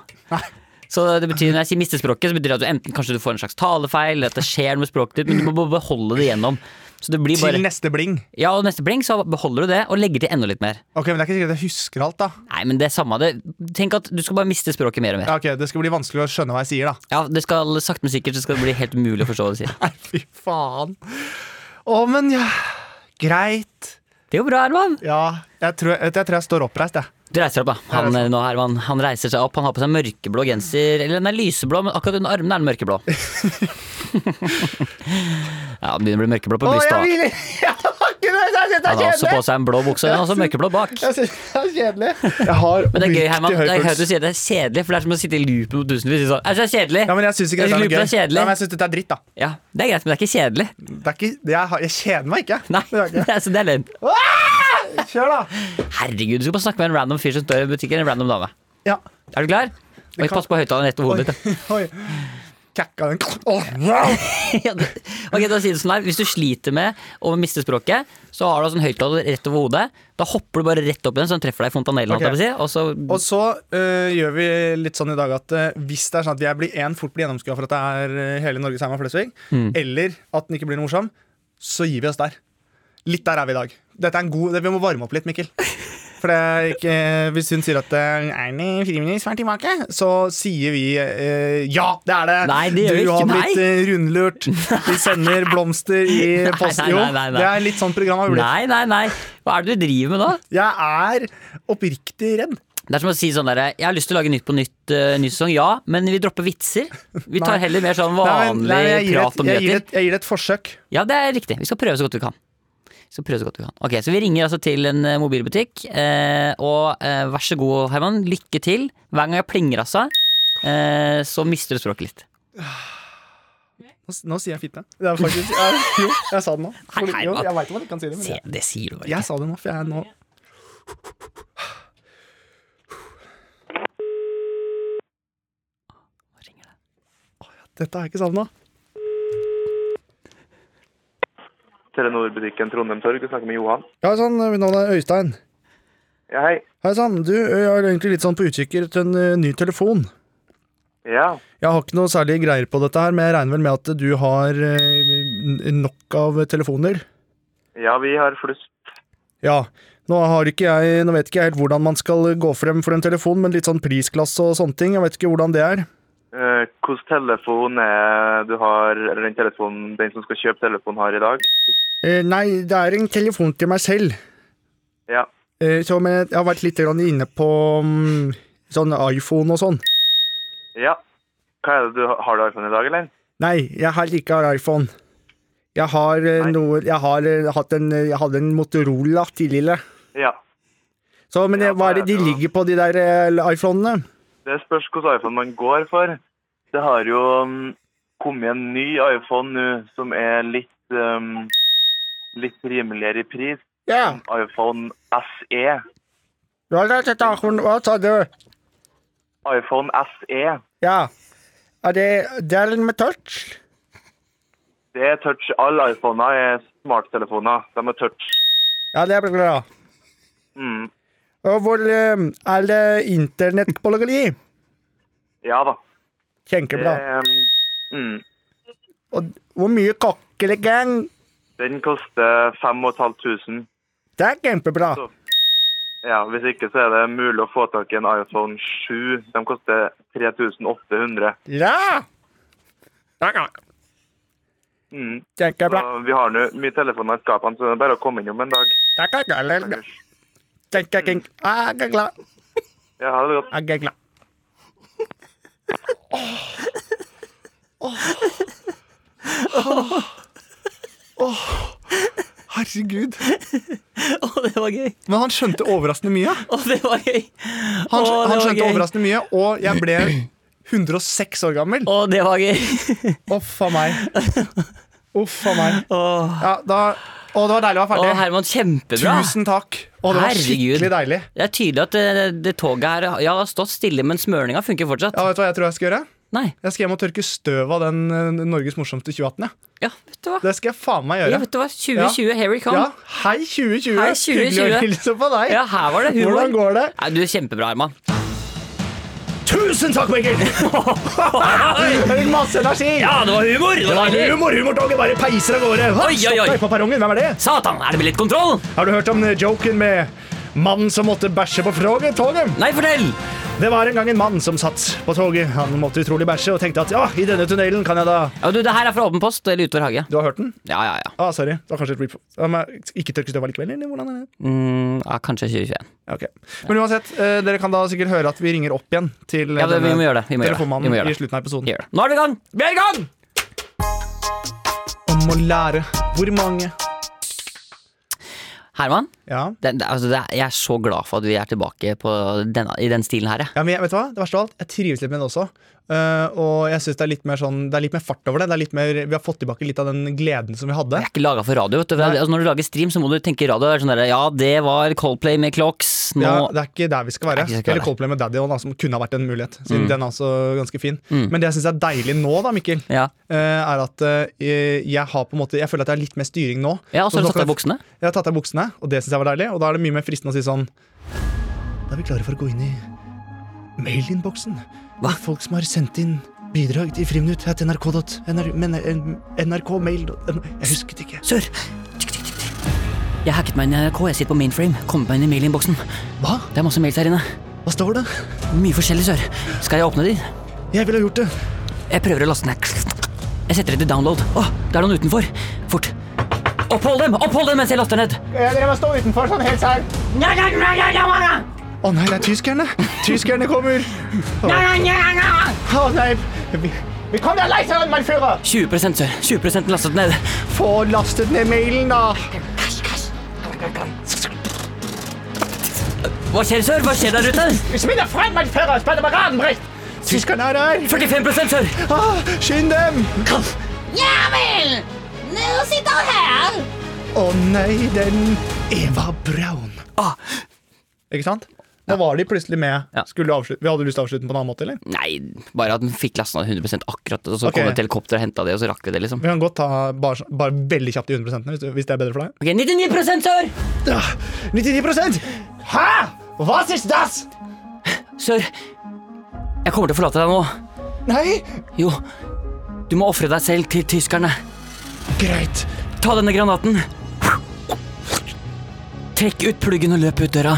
[SPEAKER 3] Så det betyr, når jeg sier miste språket, så betyr det at du enten kanskje du får en slags talefeil, eller at det skjer noe med språket ditt, men du må bare beholde det gjennom. Så det blir
[SPEAKER 2] Til
[SPEAKER 3] bare
[SPEAKER 2] neste bling.
[SPEAKER 3] Ja, og neste blink så beholder du det, og legger til enda litt mer.
[SPEAKER 2] Ok, men Det er ikke sikkert jeg husker alt, da.
[SPEAKER 3] Nei, men det er samme det. Tenk at du skal bare miste språket mer og mer.
[SPEAKER 2] Ja, ok, Det skal bli vanskelig å skjønne hva jeg sier, da.
[SPEAKER 3] Ja, det skal sakte, men sikkert så skal det bli helt umulig å forstå hva du sier.
[SPEAKER 2] Nei, fy faen. Å, men ja. Greit.
[SPEAKER 3] Det er jo bra, Herman.
[SPEAKER 2] Ja, jeg tror jeg, tror jeg står oppreist, jeg.
[SPEAKER 3] Du reiser deg opp, da. Han, eh, nå, Herman, han reiser seg opp. Han har på seg mørkeblå genser. Eller den er lyseblå, men akkurat under armene er den mørkeblå. ja, den begynner å bli mørkeblå på brystet. også.
[SPEAKER 2] vil ikke
[SPEAKER 3] Han har også på seg en blå bukse, og den er også mørkeblå bak.
[SPEAKER 2] Jeg synes det er kjedelig. Jeg har
[SPEAKER 3] Men det er gøy, Herman. Det er gøy
[SPEAKER 2] høy
[SPEAKER 3] at du
[SPEAKER 2] puls.
[SPEAKER 3] sier det er kjedelig, for det er som å sitte i loopen på tusenvis. Sånn. Jeg synes det er kjedelig.
[SPEAKER 2] Ja, men jeg syns ikke dette er noe
[SPEAKER 3] Loopen
[SPEAKER 2] gøy.
[SPEAKER 3] er kjedelig.
[SPEAKER 2] Ja, men jeg synes dette er dritt, da.
[SPEAKER 3] Ja, det er greit, men det er ikke kjedelig.
[SPEAKER 2] Det er ikke, jeg, har- jeg kjeder meg ikke.
[SPEAKER 3] Nei,
[SPEAKER 2] Det er
[SPEAKER 3] det er, så det er løgn.
[SPEAKER 2] ikke. Kjør, da.
[SPEAKER 3] Herregud, du skal bare snakke med en random fyr som står i butikken, en random dame.
[SPEAKER 2] Ja.
[SPEAKER 3] Er du klar?
[SPEAKER 2] Det
[SPEAKER 3] Oi,
[SPEAKER 2] kan-
[SPEAKER 3] pass på høyttaleren rett over hodet ditt.
[SPEAKER 2] Oi. Kakka den Åh, wow.
[SPEAKER 3] Ja, det- ok, da sier det sånn her Hvis du sliter med å miste språket, så har du altså en høyttaler rett over hodet. Da hopper du bare rett opp i den, så den treffer deg i fontanellen.
[SPEAKER 2] Ok.
[SPEAKER 3] holdt jeg på å Si, og så
[SPEAKER 2] Og så øh, gjør vi litt sånn i dag at øh, hvis det er sånn at jeg blir en fort blir gjennomskua for at det er øh, hele Norges Herman Flesvig,
[SPEAKER 3] Mm.
[SPEAKER 2] eller at den ikke blir noe morsom, så gir vi oss der. Litt der er vi i dag. Dette er en god, det, Vi må varme opp litt, Mikkel. For det er ikke, eh, Hvis hun sier at øh, er det friministeren tilbake, så sier vi øh, ja, det er det!
[SPEAKER 3] Nei, det gjør vi
[SPEAKER 2] du
[SPEAKER 3] ikke.
[SPEAKER 2] har
[SPEAKER 3] Nei.
[SPEAKER 2] blitt øh, rundlurt. Vi sender blomster i
[SPEAKER 3] Nei,
[SPEAKER 2] posten.
[SPEAKER 3] nei,
[SPEAKER 2] Jo,
[SPEAKER 3] nei, nei, nei.
[SPEAKER 2] det er litt sånn program har blitt.
[SPEAKER 3] Nei, nei, nei. Hva er det du driver med nå?
[SPEAKER 2] Jeg er oppriktig redd.
[SPEAKER 3] Det er som å si sånn derre Jeg har lyst til å lage Nytt på nytt eh, ny sesong, ja, men vi dropper vitser. Vi tar
[SPEAKER 2] Nei.
[SPEAKER 3] heller mer sånn
[SPEAKER 2] Nei, men-
[SPEAKER 3] vanlig
[SPEAKER 2] nei, jeg gir
[SPEAKER 3] prat
[SPEAKER 2] et-
[SPEAKER 3] om
[SPEAKER 2] jeg gir
[SPEAKER 3] nyheter.
[SPEAKER 2] et- Jeg gir det et forsøk.
[SPEAKER 3] Ja, det er riktig. Vi skal prøve så godt vi kan. Vi skal prøve så godt vi kan. Ok, Så vi ringer altså til en eh, mobilbutikk, eh, og eh, vær så god, Herman. Lykke til. Hver gang jeg plinger, altså, eh, så mister du språket litt.
[SPEAKER 2] Nå, s- nå sier jeg fitte. Det er faktisk, ja, jo, jeg sa det nå. For,
[SPEAKER 3] Nei, nei,
[SPEAKER 2] jo,
[SPEAKER 3] hva-
[SPEAKER 2] jeg veit ikke om jeg kan si det, men
[SPEAKER 3] Se,
[SPEAKER 2] jeg,
[SPEAKER 3] det sier du bare
[SPEAKER 2] jeg
[SPEAKER 3] ikke.
[SPEAKER 2] sa det nå, for jeg er nå
[SPEAKER 3] Nå ringer det.
[SPEAKER 2] Dette har jeg ikke savna.
[SPEAKER 4] Telenor-butikken Trondheim Torg og snakker med Johan.
[SPEAKER 2] Ja, sann, mitt navn er Øystein.
[SPEAKER 4] Ja, hei.
[SPEAKER 2] Hei sann, du, jeg er egentlig litt sånn på utkikk etter en eh, ny telefon.
[SPEAKER 4] Ja.
[SPEAKER 2] Jeg har ikke noe særlig greier på dette her, men jeg regner vel med at du har eh, n- nok av telefoner?
[SPEAKER 4] ja, vi har flust.
[SPEAKER 2] Ja.
[SPEAKER 5] Nå, har ikke jeg, nå vet ikke jeg helt hvordan man skal gå frem for en telefon, men litt sånn prisklasse og sånne ting, jeg vet ikke hvordan det er.
[SPEAKER 4] Eh, Hvilken telefon er du har, eller den telefonen den som skal kjøpe telefonen, har i dag?
[SPEAKER 5] Eh, nei, det er en telefon til meg selv,
[SPEAKER 4] Ja.
[SPEAKER 5] eh, som jeg, jeg har vært litt grann inne på mm, sånn iPhone og sånn.
[SPEAKER 4] ja. Hva er det du har du iPhone i dag, eller?
[SPEAKER 5] Nei, jeg har ikke har iPhone. Jeg har, eh,
[SPEAKER 4] Nei.
[SPEAKER 5] noe, jeg har eh, hatt en, jeg hadde en Motorola tidligere.
[SPEAKER 4] Ja.
[SPEAKER 5] Så, men
[SPEAKER 4] Ja,
[SPEAKER 5] eh, hva er
[SPEAKER 4] det
[SPEAKER 5] det de
[SPEAKER 4] er det jo.
[SPEAKER 5] ligger på, de der eh, iPhonene?
[SPEAKER 4] Det spørs hvilken iPhone man går for. Det har jo mm, kommet en ny iPhone nå som er litt mm, litt rimeligere i pris.
[SPEAKER 5] Ja,
[SPEAKER 4] iPhone E. SE.
[SPEAKER 5] hva er det, hva sa du?
[SPEAKER 4] iPhone E, SE.
[SPEAKER 5] Ja, er det, det er den med touch?
[SPEAKER 4] Det er touch. Alle iPhoner er smarttelefoner. De er touch.
[SPEAKER 5] Ja, det er bra.
[SPEAKER 4] Mm.
[SPEAKER 5] Og hvor eh, er det internettpologoli?
[SPEAKER 4] Ja da.
[SPEAKER 5] Kjempebra.
[SPEAKER 4] Eh. Det, mm,
[SPEAKER 5] Og hvor mye kokkelegang?
[SPEAKER 4] den koster 5500.
[SPEAKER 5] Det er kjempebra.
[SPEAKER 4] Så- Ja, hvis ikke så er det mulig å få tak i en iPhone 7. De koster 3800.
[SPEAKER 5] Ja! Ja, ja.
[SPEAKER 4] Mm.
[SPEAKER 5] Kjempebra.
[SPEAKER 4] Så vi har nå mye telefoner i skapene, så det er bare å komme innom en dag.
[SPEAKER 5] Ja, ja, ja, ja, ja. Kjenke, kjenke. Ah, Jeg er glad.
[SPEAKER 4] Ja, ha det godt.
[SPEAKER 2] Ah,
[SPEAKER 5] Jeg er glad.
[SPEAKER 2] Herregud.
[SPEAKER 3] Å, det var gøy!
[SPEAKER 2] Men han skjønte overraskende mye.
[SPEAKER 3] Å, det var gøy! Å,
[SPEAKER 2] Han,
[SPEAKER 3] det
[SPEAKER 2] han
[SPEAKER 3] var
[SPEAKER 2] skjønte
[SPEAKER 3] gøy.
[SPEAKER 2] overraskende mye, og jeg ble 106 år gammel.
[SPEAKER 3] Å, det var gøy!
[SPEAKER 2] Uff a meg. Uff a meg.
[SPEAKER 3] Å,
[SPEAKER 2] Ja, da, å, det var deilig å
[SPEAKER 3] å,
[SPEAKER 2] være ferdig.
[SPEAKER 3] Herman, kjempebra!
[SPEAKER 2] Tusen takk. Å, det var
[SPEAKER 3] Herregud.
[SPEAKER 2] skikkelig deilig.
[SPEAKER 3] Det er tydelig at det, det toget her ja, har stått stille, men smøringa funker fortsatt.
[SPEAKER 2] Ja, vet du hva jeg tror jeg skal gjøre?
[SPEAKER 3] Nei.
[SPEAKER 2] Jeg skal hjem og tørke støv av den eh, Norges morsomste 2018. Ja.
[SPEAKER 3] Ja, vet du hva?
[SPEAKER 2] Det skal jeg faen meg
[SPEAKER 3] Ja,
[SPEAKER 2] gjøre.
[SPEAKER 3] vet du hva? 2020, here we come.
[SPEAKER 2] Ja, Hei 2020.
[SPEAKER 3] Hei, 2020.
[SPEAKER 2] Hyggelig å hilse på deg.
[SPEAKER 3] Ja, her var det humor.
[SPEAKER 2] Hvordan går det?
[SPEAKER 3] Nei, du er kjempebra, Herman.
[SPEAKER 2] Tusen takk, Mikkel! Masse energi.
[SPEAKER 3] Ja, det var humor! Det var deilig!
[SPEAKER 2] Humor, humortoget bare peiser av gårde. Hva?
[SPEAKER 3] Oi, oi,
[SPEAKER 2] Stopp
[SPEAKER 3] oi.
[SPEAKER 2] deg på perrongen, hvem er det?
[SPEAKER 3] Satan, er det billettkontroll?
[SPEAKER 2] Har du hørt om eh, joken med mannen som måtte bæsje på froget, toget?
[SPEAKER 3] Nei, fortell!
[SPEAKER 2] Det var en gang en mann som satt på toget. Han måtte utrolig bæsje og tenkte at ja, i denne tunnelen kan jeg da
[SPEAKER 3] Ja, du, det her er fra Åpen post eller Utover hage.
[SPEAKER 2] Du har hørt den?
[SPEAKER 3] Ja, ja, ja.
[SPEAKER 2] Ah, sorry. Det var kanskje et rip... Ja, men Ikke tørke støv allikevel, eller hvordan er det?
[SPEAKER 3] Mm, ja kanskje 2021.
[SPEAKER 2] Ja, ok. Men uansett, eh, dere kan da sikkert høre at vi ringer opp igjen til eh,
[SPEAKER 3] Ja, det, vi
[SPEAKER 2] denne
[SPEAKER 3] må gjøre det. Vi må gjøre det. Vi
[SPEAKER 2] telefonmannen
[SPEAKER 3] må gjøre
[SPEAKER 2] i
[SPEAKER 3] det.
[SPEAKER 2] slutten av episoden.
[SPEAKER 3] Vi gjør det. Nå er vi i gang! Vi er i gang!
[SPEAKER 2] Om å lære hvor mange
[SPEAKER 3] Herman,
[SPEAKER 2] Ja.
[SPEAKER 3] det, det, altså, det, er- jeg er så glad for at vi er tilbake på denne, i den stilen her. jeg.
[SPEAKER 2] Ja, men jeg, vet du hva? Det verste av alt, jeg trives litt med det også. Eh, og jeg synes det, er litt mer sånn, det er litt mer fart over det. det er litt mer, vi har fått tilbake litt av den gleden som vi hadde.
[SPEAKER 3] Jeg er ikke laga for radio. vet du
[SPEAKER 2] Nei.
[SPEAKER 3] altså, Når du lager stream, så må du tenke radio. Det er Sånn der, ja, det var Coldplay med Clocks. Nå
[SPEAKER 2] Ja, det er ikke der vi skal være.
[SPEAKER 3] Nei, vi skal ikke
[SPEAKER 2] Eller
[SPEAKER 3] være. Mm.
[SPEAKER 2] Coldplay med Daddy, også, da, som kunne ha vært en mulighet. Siden den er også ganske fin Men det jeg syns er deilig nå, da, Mikkel,
[SPEAKER 3] Ja.
[SPEAKER 2] eh, er at eh, jeg har på en måte Jeg føler at jeg har litt mer styring nå.
[SPEAKER 3] Ja, og så har du
[SPEAKER 2] nå skal
[SPEAKER 3] tatt av
[SPEAKER 2] jeg-
[SPEAKER 3] buksene.
[SPEAKER 2] Jeg har tatt av buksene, og det syns jeg var deilig. Og da er det mye mer fristende å si sånn Da er vi klare for å gå inn i mailinnboksen.
[SPEAKER 3] Hva?
[SPEAKER 2] Folk som har sendt inn bidrag til friminutt at nrk.nr... men- eh, nrkmail Jeg husket ikke.
[SPEAKER 3] Sør! Jeg hacket meg inn i NRK. Jeg sitter på mainframe. Kommer meg inn i mailinnboksen.
[SPEAKER 2] Hva?
[SPEAKER 3] Det er masse mails her inne.
[SPEAKER 2] Hva står det?
[SPEAKER 3] Mye forskjellig, sør. Skal jeg åpne de?
[SPEAKER 2] Jeg ville ha gjort det.
[SPEAKER 3] Jeg prøver å laste ned. Jeg setter det til download. Å, det er noen utenfor. Fort. Opphold dem! Opphold dem mens jeg laster ned!
[SPEAKER 2] Jeg drev og sto utenfor sånn helt sær. Å nei, det er tyskerne! Tyskerne kommer! Å nei! Vi, vi kommer der leiseren, mein Führer!
[SPEAKER 3] 20 sør. 20 lastet ned.
[SPEAKER 2] Få lastet ned mailen, da!
[SPEAKER 3] Hva skjer, sør? Hva skjer der ute?
[SPEAKER 2] Ich bin der Freund, mein Führer! Ich bin der Paradenbrecht! Tyskerne er der!
[SPEAKER 3] 45 sør!
[SPEAKER 2] Ah, skynd dem!
[SPEAKER 6] Ja vel! Nu sitter här!
[SPEAKER 2] Å nei, den Eva Braun.
[SPEAKER 3] Ah.
[SPEAKER 2] Ikke sant? Da var de plutselig med.
[SPEAKER 3] Ja.
[SPEAKER 2] Skulle avslutte. Vi hadde lyst til å avslutte den på en annen måte, eller?
[SPEAKER 3] Nei, bare at den fikk lastet ned 100 akkurat, og så
[SPEAKER 2] Ok.
[SPEAKER 3] kom det et helikopter og henta det, og så rakk vi det, liksom.
[SPEAKER 2] Vi kan godt ta bare, sånn- bare veldig kjapt i 100 hvis, du- hvis det er bedre for deg.
[SPEAKER 3] Ok, 99 sør!
[SPEAKER 2] Ja, 99 Hæ?! Hva ist das?
[SPEAKER 3] Sør, jeg kommer til å forlate deg nå.
[SPEAKER 2] Nei!
[SPEAKER 3] Jo, du må ofre deg selv til tyskerne.
[SPEAKER 2] Greit.
[SPEAKER 3] Ta denne granaten. Trekk ut pluggen og løp ut døra.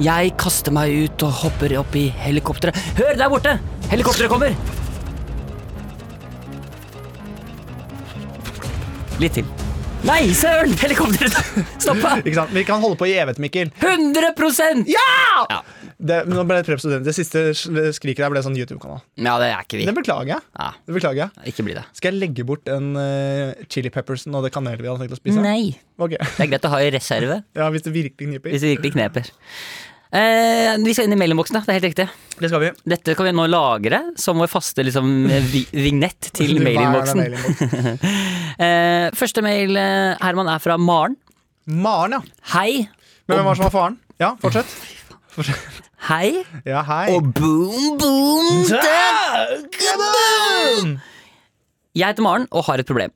[SPEAKER 3] Jeg kaster meg ut og hopper opp i helikopteret. Hør, der borte! Helikopteret kommer! Litt til. Nei, søren! Helikopteret stoppa!
[SPEAKER 2] Ikke sant? Vi kan holde på i evighet, Mikkel.
[SPEAKER 3] 100 ja!
[SPEAKER 2] Det, nå ble det prep student. Det siste sl- skriket der ble sånn YouTube-kanal.
[SPEAKER 3] ja, det er ikke vi.
[SPEAKER 2] Det beklager jeg.
[SPEAKER 3] Ja,
[SPEAKER 2] Det beklager jeg.
[SPEAKER 3] ikke bli det.
[SPEAKER 2] Skal jeg legge bort den eh, chili peppersen og det kanelen vi hadde tenkt å spise?
[SPEAKER 3] Nei.
[SPEAKER 2] Ok.
[SPEAKER 3] Det er greit å ha i reserve.
[SPEAKER 2] Ja, hvis det virkelig kniper.
[SPEAKER 3] Hvis det virkelig kneper. Eh, vi skal inn i mellomboksen, da. Det er helt riktig.
[SPEAKER 2] Det skal vi.
[SPEAKER 3] Dette kan vi nå lagre som vår faste liksom, vi- vignett til
[SPEAKER 2] Hva er det
[SPEAKER 3] mailinnboksen.
[SPEAKER 2] mailinnboksen?
[SPEAKER 3] Eh, første mail, eh, Herman, er fra Maren.
[SPEAKER 2] Maren, ja.
[SPEAKER 3] Hei.
[SPEAKER 2] Men hvem var det som var faren? Ja, fortsett.
[SPEAKER 3] Hei.
[SPEAKER 2] Ja, hei.
[SPEAKER 3] Og boom, boom,
[SPEAKER 2] Kaboom!
[SPEAKER 3] Jeg heter Maren og har et problem.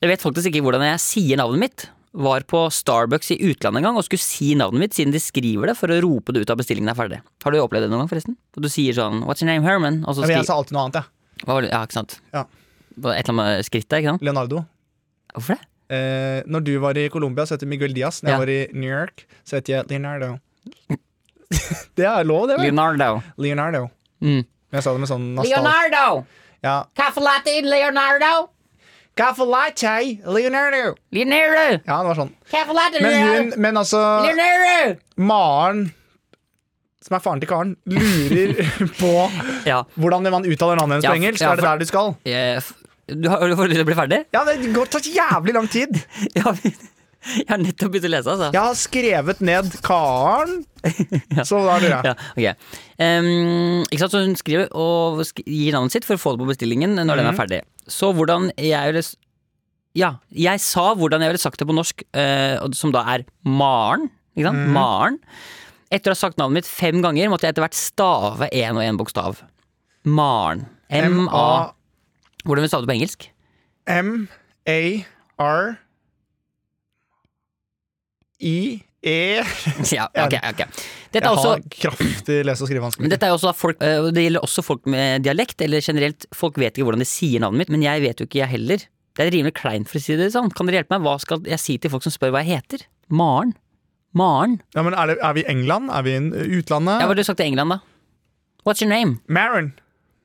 [SPEAKER 3] Jeg vet faktisk ikke hvordan jeg sier navnet mitt. Var på Starbucks i utlandet en gang og skulle si navnet mitt siden de skriver det for å rope det ut av bestillingen er ferdig. Har du opplevd det noen gang, forresten? At du sier sånn What's your name, Herman? Og så
[SPEAKER 2] Ja, men jeg
[SPEAKER 3] skriver
[SPEAKER 2] sa alltid noe annet, jeg.
[SPEAKER 3] Hva var det? Ja, ikke sant?
[SPEAKER 2] Ja.
[SPEAKER 3] Det var Et eller annet med skrittet, ikke sant?
[SPEAKER 2] Leonardo.
[SPEAKER 3] Hvorfor det?
[SPEAKER 2] Eh, når du var i Colombia, så het jeg Miguel Diaz. Når
[SPEAKER 3] Ja.
[SPEAKER 2] jeg var i New York, så het jeg Leonardo. det er lov, det. vel?
[SPEAKER 3] Leonardo.
[SPEAKER 2] Leonardo.
[SPEAKER 3] Mm.
[SPEAKER 2] Men Jeg sa det med sånn nostalgi.
[SPEAKER 6] Leonardo!
[SPEAKER 2] Ja.
[SPEAKER 6] Caffè latte Leonardo!
[SPEAKER 2] Caffè latte, Leonardo.
[SPEAKER 3] Leonardo!
[SPEAKER 2] Ja, det var sånn.
[SPEAKER 6] Caffè latte
[SPEAKER 2] Men hun,
[SPEAKER 6] Leonardo!
[SPEAKER 2] men altså
[SPEAKER 6] Leonardo!
[SPEAKER 2] Maren, som er faren til Karen, lurer på
[SPEAKER 3] Ja.
[SPEAKER 2] hvordan man uttaler navnet hennes
[SPEAKER 3] Ja,
[SPEAKER 2] på engelsk.
[SPEAKER 3] ja,
[SPEAKER 2] er
[SPEAKER 3] for-
[SPEAKER 2] det der du skal?
[SPEAKER 3] Jeg, f- du har, har du fått lyst til å bli ferdig?
[SPEAKER 2] Ja, det går tar så jævlig lang tid.
[SPEAKER 3] Ja, vi- jeg har nettopp begynt å lese, altså.
[SPEAKER 2] Jeg har skrevet ned Karen, så da lurer jeg.
[SPEAKER 3] Ja, ok. Ehm, ikke sant, så hun skriver og sk gir navnet sitt for å få det på bestillingen når
[SPEAKER 2] Mhm.
[SPEAKER 3] den er ferdig. Så hvordan jeg ville s- Ja, jeg sa hvordan jeg ville sagt det på norsk, eh, og som da er Maren. Ikke
[SPEAKER 2] Mhm.
[SPEAKER 3] sant? Maren. Etter å ha sagt navnet mitt fem ganger, måtte jeg etter hvert stave én og én bokstav. Maren. M-A Hvordan vil du stave det på engelsk?
[SPEAKER 2] M-A-R I-E
[SPEAKER 3] Ja, ok, ok. Dette er altså- også
[SPEAKER 2] Jeg E. har kraftig lese- og
[SPEAKER 3] Men
[SPEAKER 2] skrivevansker.
[SPEAKER 3] dette er jo også da folk, eh, og det gjelder også folk med dialekt, eller generelt, folk vet ikke hvordan de sier navnet mitt, men jeg vet jo ikke jeg heller. Det er rimelig kleint for å si det sånn. Kan dere hjelpe meg? Hva skal jeg si til folk som spør hva jeg heter? Maren. Maren.
[SPEAKER 2] Ja, men er, det, er vi i England? Er vi i utlandet?
[SPEAKER 3] Ja, hva har du sagt til England, da? What's your name?
[SPEAKER 2] Maren.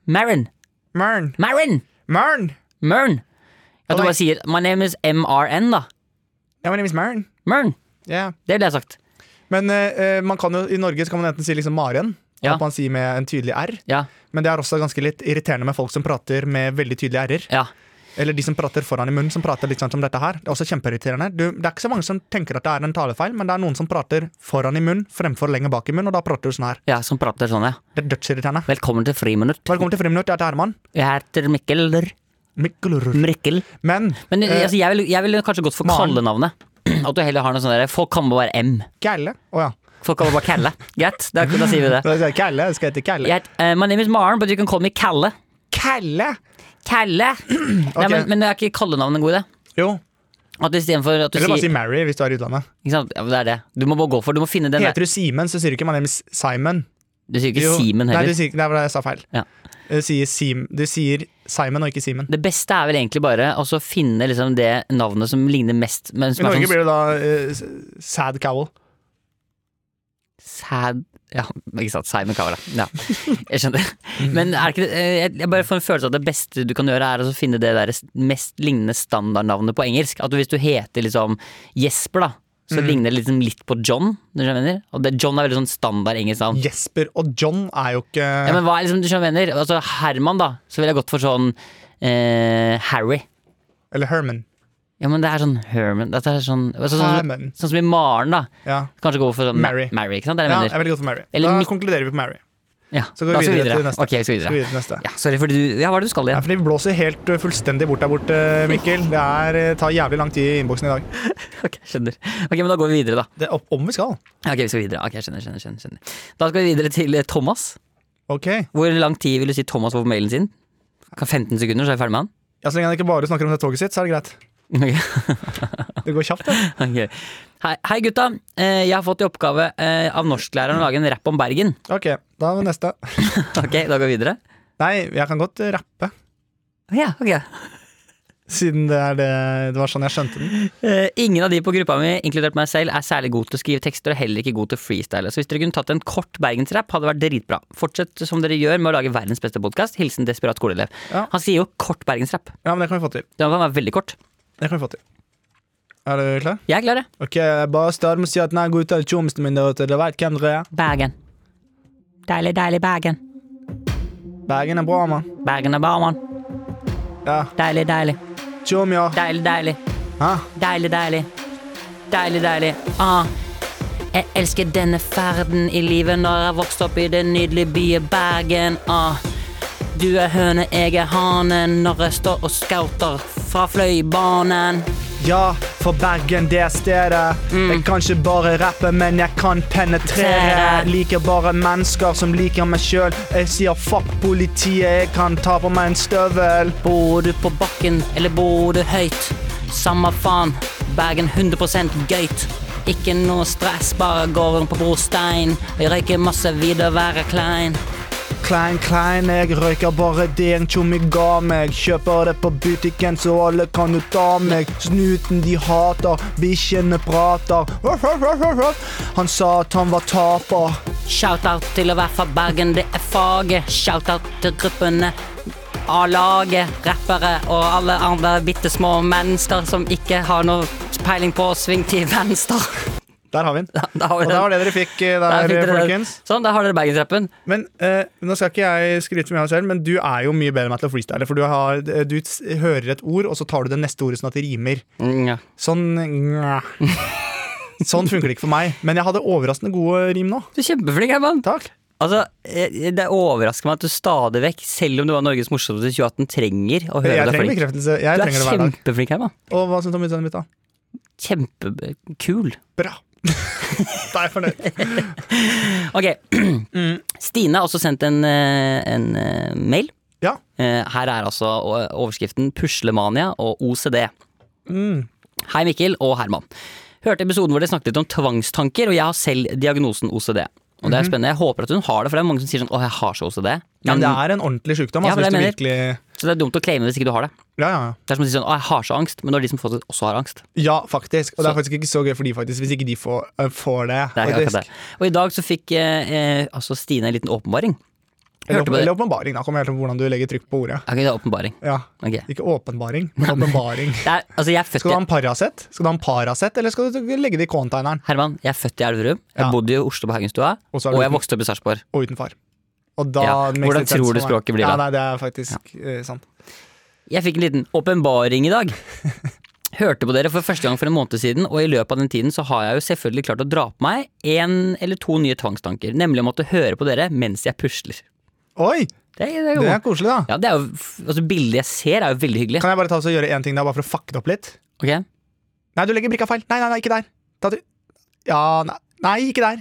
[SPEAKER 3] Maren.
[SPEAKER 2] Maren.
[SPEAKER 3] Maren.
[SPEAKER 2] Maren.
[SPEAKER 3] Maren. At du bare sier My name is MRN, da.
[SPEAKER 2] Ja, my name is Maren.
[SPEAKER 3] Maren.
[SPEAKER 2] Yeah.
[SPEAKER 3] Det ville jeg sagt.
[SPEAKER 2] Men eh, eh, man kan jo, i Norge så kan man enten si liksom Maren,
[SPEAKER 3] Ja.
[SPEAKER 2] at man sier med en tydelig R.
[SPEAKER 3] Ja.
[SPEAKER 2] Men det er også ganske litt irriterende med folk som prater med veldig tydelige R-er.
[SPEAKER 3] Ja.
[SPEAKER 2] Eller de som prater foran i munnen, som prater litt sånn som dette her. Det er også kjempeirriterende. Du, det er ikke så mange som tenker at det er en talefeil, men det er noen som prater foran i munnen fremfor lenger bak i munnen, og da prater du sånn her.
[SPEAKER 3] ja, som prater sånn, ja.
[SPEAKER 2] Det er dødsirriterende.
[SPEAKER 3] Velkommen til friminutt.
[SPEAKER 2] Velkommen til Friminutt, jeg heter Herman.
[SPEAKER 3] Jeg heter Mikkel.
[SPEAKER 2] Mikkel Rur.
[SPEAKER 3] Mrikkel.
[SPEAKER 2] Men
[SPEAKER 3] Men
[SPEAKER 2] eh,
[SPEAKER 3] altså, jeg ville vil kanskje gått for
[SPEAKER 2] Maren.
[SPEAKER 3] kallenavnet. At du heller har noe sånn derre Folk kan bare være M.
[SPEAKER 2] Kalle Å ja.
[SPEAKER 3] Folk kaller bare Kalle. Greit, da, da sier vi det.
[SPEAKER 2] Da sier jeg Kalle, jeg skal hete Kalle.
[SPEAKER 3] Jeg, eh, my name is Maren, but you can call me Kalle.
[SPEAKER 2] Kalle!
[SPEAKER 3] Kalle! Nei,
[SPEAKER 2] Ok.
[SPEAKER 3] men, men er ikke kallenavn en god idé?
[SPEAKER 2] Jo.
[SPEAKER 3] At istedenfor at du
[SPEAKER 2] Eller bare si
[SPEAKER 3] sier
[SPEAKER 2] Mary hvis du er i utlandet.
[SPEAKER 3] ikke sant? Ja, men det er det. Du må bare gå for Du må finne den der.
[SPEAKER 2] Heter du Simen, så sier du ikke my name is Simon.
[SPEAKER 3] Du sier ikke
[SPEAKER 2] Jo.
[SPEAKER 3] Simen
[SPEAKER 2] Nei,
[SPEAKER 3] heller.
[SPEAKER 2] du sier, det var det jeg sa feil.
[SPEAKER 3] Ja.
[SPEAKER 2] Du, sier Sim, du sier Simon og ikke Simen.
[SPEAKER 3] Det beste er vel egentlig bare å så finne liksom det navnet som ligner mest. Men
[SPEAKER 2] I
[SPEAKER 3] som er
[SPEAKER 2] Norge
[SPEAKER 3] sånn
[SPEAKER 2] blir det da eh, s- Sad Cowell.
[SPEAKER 3] sad ja, ikke sant. Simon Kavra. Ja, jeg skjønner. Men er det ikke det eh, Jeg jeg bare får en følelse av at det beste du kan gjøre, er å så finne det der mest lignende standardnavnet på engelsk. At du- hvis du heter liksom Jesper, da, så
[SPEAKER 2] Mm.
[SPEAKER 3] ligner det liksom litt på John. Du skjønner hva jeg mener? Og det, John er veldig sånn standard engelsk navn.
[SPEAKER 2] Jesper og John er jo ikke
[SPEAKER 3] Ja, men hva er liksom, du skjønner hva jeg mener? Altså Herman, da, så ville jeg gått for sånn eh, Harry.
[SPEAKER 2] Eller Herman.
[SPEAKER 3] Ja, men det er sånn Herman Dette er sånn, altså, sånn,
[SPEAKER 2] Herman.
[SPEAKER 3] sånn som i Maren, da.
[SPEAKER 2] Ja.
[SPEAKER 3] Kanskje gå for sånn Ma-
[SPEAKER 2] Mary.
[SPEAKER 3] Mary ikke sant? Det er
[SPEAKER 2] ja,
[SPEAKER 3] det jeg
[SPEAKER 2] jeg er
[SPEAKER 3] mener.
[SPEAKER 2] veldig godt for Mary.
[SPEAKER 3] Eller
[SPEAKER 2] da
[SPEAKER 3] Mik-
[SPEAKER 2] konkluderer vi på Mary.
[SPEAKER 3] Ja,
[SPEAKER 2] Så går vi
[SPEAKER 3] da
[SPEAKER 2] videre til neste.
[SPEAKER 3] Ok, vi skal
[SPEAKER 2] Skal vi
[SPEAKER 3] videre.
[SPEAKER 2] videre til neste.
[SPEAKER 3] Ja, sorry, fordi du Ja, hva er det du skal
[SPEAKER 2] Det er
[SPEAKER 3] igjen?
[SPEAKER 2] fordi vi blåser helt eh, fullstendig bort der borte, Mikkel. Det er, eh, tar jævlig lang tid i innboksen i dag.
[SPEAKER 3] Ok, skjønner. Ok, men da går vi videre, da.
[SPEAKER 2] Det, er opp- om vi skal.
[SPEAKER 3] Ok, vi skal videre. Ok, skjønner, skjønner, skjønner, skjønner. Da skal vi videre til eh, Thomas.
[SPEAKER 2] Ok.
[SPEAKER 3] Hvor lang tid vil du si Thomas var på mailen sin? Kan 15 sekunder, så er jeg ferdig med han?
[SPEAKER 2] Ja, så lenge han ikke bare snakker om det toget sitt, så er det greit.
[SPEAKER 3] Ok.
[SPEAKER 2] Det går kjapt, det.
[SPEAKER 3] Ok. Hei, hei gutta, Eh, jeg har fått i oppgave eh, av norsklæreren å lage en rapp om Bergen.
[SPEAKER 2] Ok, da er det neste.
[SPEAKER 3] Ok, da går vi videre.
[SPEAKER 2] Nei, jeg kan godt eh, rappe.
[SPEAKER 3] Ja, ok.
[SPEAKER 2] Siden det, er det, det var sånn jeg skjønte den.
[SPEAKER 3] Eh, ingen av de på gruppa mi, inkludert meg selv, er særlig god til å skrive tekster og heller ikke god til å freestyle. Så hvis dere kunne tatt en kort bergensrapp, hadde det vært dritbra. Fortsett som dere gjør med å lage verdens beste podkast. Hilsen desperat skoleelev.
[SPEAKER 2] Ja.
[SPEAKER 3] Han sier jo kort bergensrapp.
[SPEAKER 2] Ja, men det kan vi få til.
[SPEAKER 3] Den kan være veldig kort.
[SPEAKER 2] Det kan vi få til. Er du klar?
[SPEAKER 3] Jeg er klar, jeg.
[SPEAKER 2] Ok, jeg bare starter med å si at den er god uttalt tjomsen min der ute. Dere vet hvem dere er.
[SPEAKER 3] Bergen. Deilig, deilig Bergen.
[SPEAKER 2] Bergen er bra, mann.
[SPEAKER 3] Bergen er barmann.
[SPEAKER 2] Ja.
[SPEAKER 3] Deilig, deilig.
[SPEAKER 2] Tjom, ja.
[SPEAKER 3] Deilig, deilig.
[SPEAKER 2] Hæ?
[SPEAKER 3] Deilig, deilig. Deilig, deilig. Ah. Jeg elsker denne ferden i livet når jeg vokste opp i den nydelige byen Bergen. Ah. Du er høne, jeg er hanen når jeg står og scouter fra Fløibanen.
[SPEAKER 2] Ja, for Bergen, det er stedet. Jeg kan ikke bare rappe, men jeg kan penetrere.
[SPEAKER 3] Penetrere.
[SPEAKER 2] Liker bare mennesker som liker meg sjøl. Jeg sier fuck politiet, jeg kan ta på meg en støvel.
[SPEAKER 3] Bor du på bakken, eller bor du høyt? Samme faen, Bergen 100 gøyt. Ikke noe stress, bare går rundt på brostein. Jeg røyker masse weed og være klein.
[SPEAKER 2] Klein, klein, jeg røyker bare det en tjommi ga meg. Kjøper det på butikken, så alle kan jo ta meg. Snuten de hater, bikkjene prater. Ruff, ruff, ruff, ruff, ruff. Han sa at han var taper.
[SPEAKER 3] Shoutout til å være fra Bergen, det er faget. Shoutout til gruppene. A-laget, rappere og alle andre bitte små mennesker som ikke har noe peiling på å sving til venstre.
[SPEAKER 2] Der har vi den.
[SPEAKER 3] Da har vi den.
[SPEAKER 2] Og der var det dere fikk eh,
[SPEAKER 3] Der
[SPEAKER 2] der,
[SPEAKER 3] fikk dere den.
[SPEAKER 2] folkens.
[SPEAKER 3] Sånn, der har dere bergensrappen.
[SPEAKER 2] Men eh, nå skal ikke jeg skryte så mye av meg selv, men du er jo mye bedre enn meg til å freestyle. For du, har, eh, du s- hører et ord, og så tar du det neste ordet sånn at det rimer.
[SPEAKER 3] Mm, ja.
[SPEAKER 2] Sånn nja. Sånn funker det ikke for meg. Men jeg hadde overraskende gode rim nå.
[SPEAKER 3] Du er kjempeflink, Herman.
[SPEAKER 2] Takk.
[SPEAKER 3] Altså, eh, det overrasker meg at du stadig vekk, selv om du var Norges morsomste i 2018, trenger å høre
[SPEAKER 2] Jeg
[SPEAKER 3] deg
[SPEAKER 2] trenger
[SPEAKER 3] flink.
[SPEAKER 2] bekreftelse. Jeg
[SPEAKER 3] Du er
[SPEAKER 2] trenger det hver dag.
[SPEAKER 3] kjempeflink, Herman.
[SPEAKER 2] Og hva syns du om utseendet mitt, da?
[SPEAKER 3] Kjempekul.
[SPEAKER 2] Bra. da er jeg fornøyd.
[SPEAKER 3] Ok,
[SPEAKER 2] Mm.
[SPEAKER 3] Stine har også sendt en, eh, en eh, mail.
[SPEAKER 2] Ja.
[SPEAKER 3] Eh, Her er altså o- overskriften 'Puslemania og OCD'. Hei, Mikkel og Herman. Hørte episoden hvor dere snakket litt om tvangstanker, og jeg har selv diagnosen OCD. Og det er spennende, Jeg håper at hun har det, for det er mange som sier sånn 'Å, jeg har så OCD'.
[SPEAKER 2] Mhm. Ja, men det er en ordentlig sykdom.
[SPEAKER 3] Ja,
[SPEAKER 2] Altså,
[SPEAKER 3] men
[SPEAKER 2] hvis du
[SPEAKER 3] jeg
[SPEAKER 2] virkelig
[SPEAKER 3] Så det er dumt å claime hvis ikke du har det.
[SPEAKER 2] Ja, ja, ja.
[SPEAKER 3] Det er som å si sånn 'Å, jeg har så angst', men det er de som faktisk også har angst.
[SPEAKER 2] Ja, faktisk. Og det
[SPEAKER 3] Så-
[SPEAKER 2] er faktisk ikke så gøy for de, faktisk, hvis ikke de får, eh, får det.
[SPEAKER 3] Det er akkurat
[SPEAKER 2] faktisk.
[SPEAKER 3] det. Og i dag så fikk eh, eh, altså Stine en liten åpenbaring.
[SPEAKER 2] Eller
[SPEAKER 3] Hørte på det.
[SPEAKER 2] åpen- Eller åpenbaring, da. Kommer helt an på hvordan du legger trykk på ordet.
[SPEAKER 3] Ok, det er åpenbaring.
[SPEAKER 2] Ja.
[SPEAKER 3] Ok.
[SPEAKER 2] Ikke åpenbaring, men åpenbaring.
[SPEAKER 3] Det er, altså, jeg er født
[SPEAKER 2] Skal du
[SPEAKER 3] i
[SPEAKER 2] ha en Paracet, Skal du ha en Paracet, eller skal du legge det i containeren
[SPEAKER 3] Herman, jeg er født i Elverum. Jeg
[SPEAKER 2] Ja.
[SPEAKER 3] bodde i Oslo på Haugenstua.
[SPEAKER 2] Og
[SPEAKER 3] Og,
[SPEAKER 2] så er du
[SPEAKER 3] jeg
[SPEAKER 2] uten-
[SPEAKER 3] vokste opp i Sarpsborg.
[SPEAKER 2] og utenfor? Og da
[SPEAKER 3] Ja,
[SPEAKER 2] makes
[SPEAKER 3] hvordan
[SPEAKER 2] it sense
[SPEAKER 3] tror du
[SPEAKER 2] for meg.
[SPEAKER 3] språket blir
[SPEAKER 2] ja,
[SPEAKER 3] da?
[SPEAKER 2] Nei, det er faktisk eh, sant.
[SPEAKER 3] Jeg fikk en liten åpenbaring i dag. Hørte på dere for første gang for en måned siden, og i løpet av den tiden så har jeg jo selvfølgelig klart å dra på meg én eller to nye tvangstanker, nemlig å måtte høre på dere mens jeg pusler.
[SPEAKER 2] Oi!
[SPEAKER 3] Det, er- det er jo
[SPEAKER 2] Det er koselig, da.
[SPEAKER 3] Ja, det er jo f- Altså, bildet jeg ser, er jo veldig hyggelig.
[SPEAKER 2] Kan jeg bare ta oss og gjøre én ting der, bare for å fucke det opp litt?
[SPEAKER 3] Ok?
[SPEAKER 2] Nei, du legger brikka feil. Nei, nei, nei, ikke der. Ta til Ja, nei, nei, ikke der.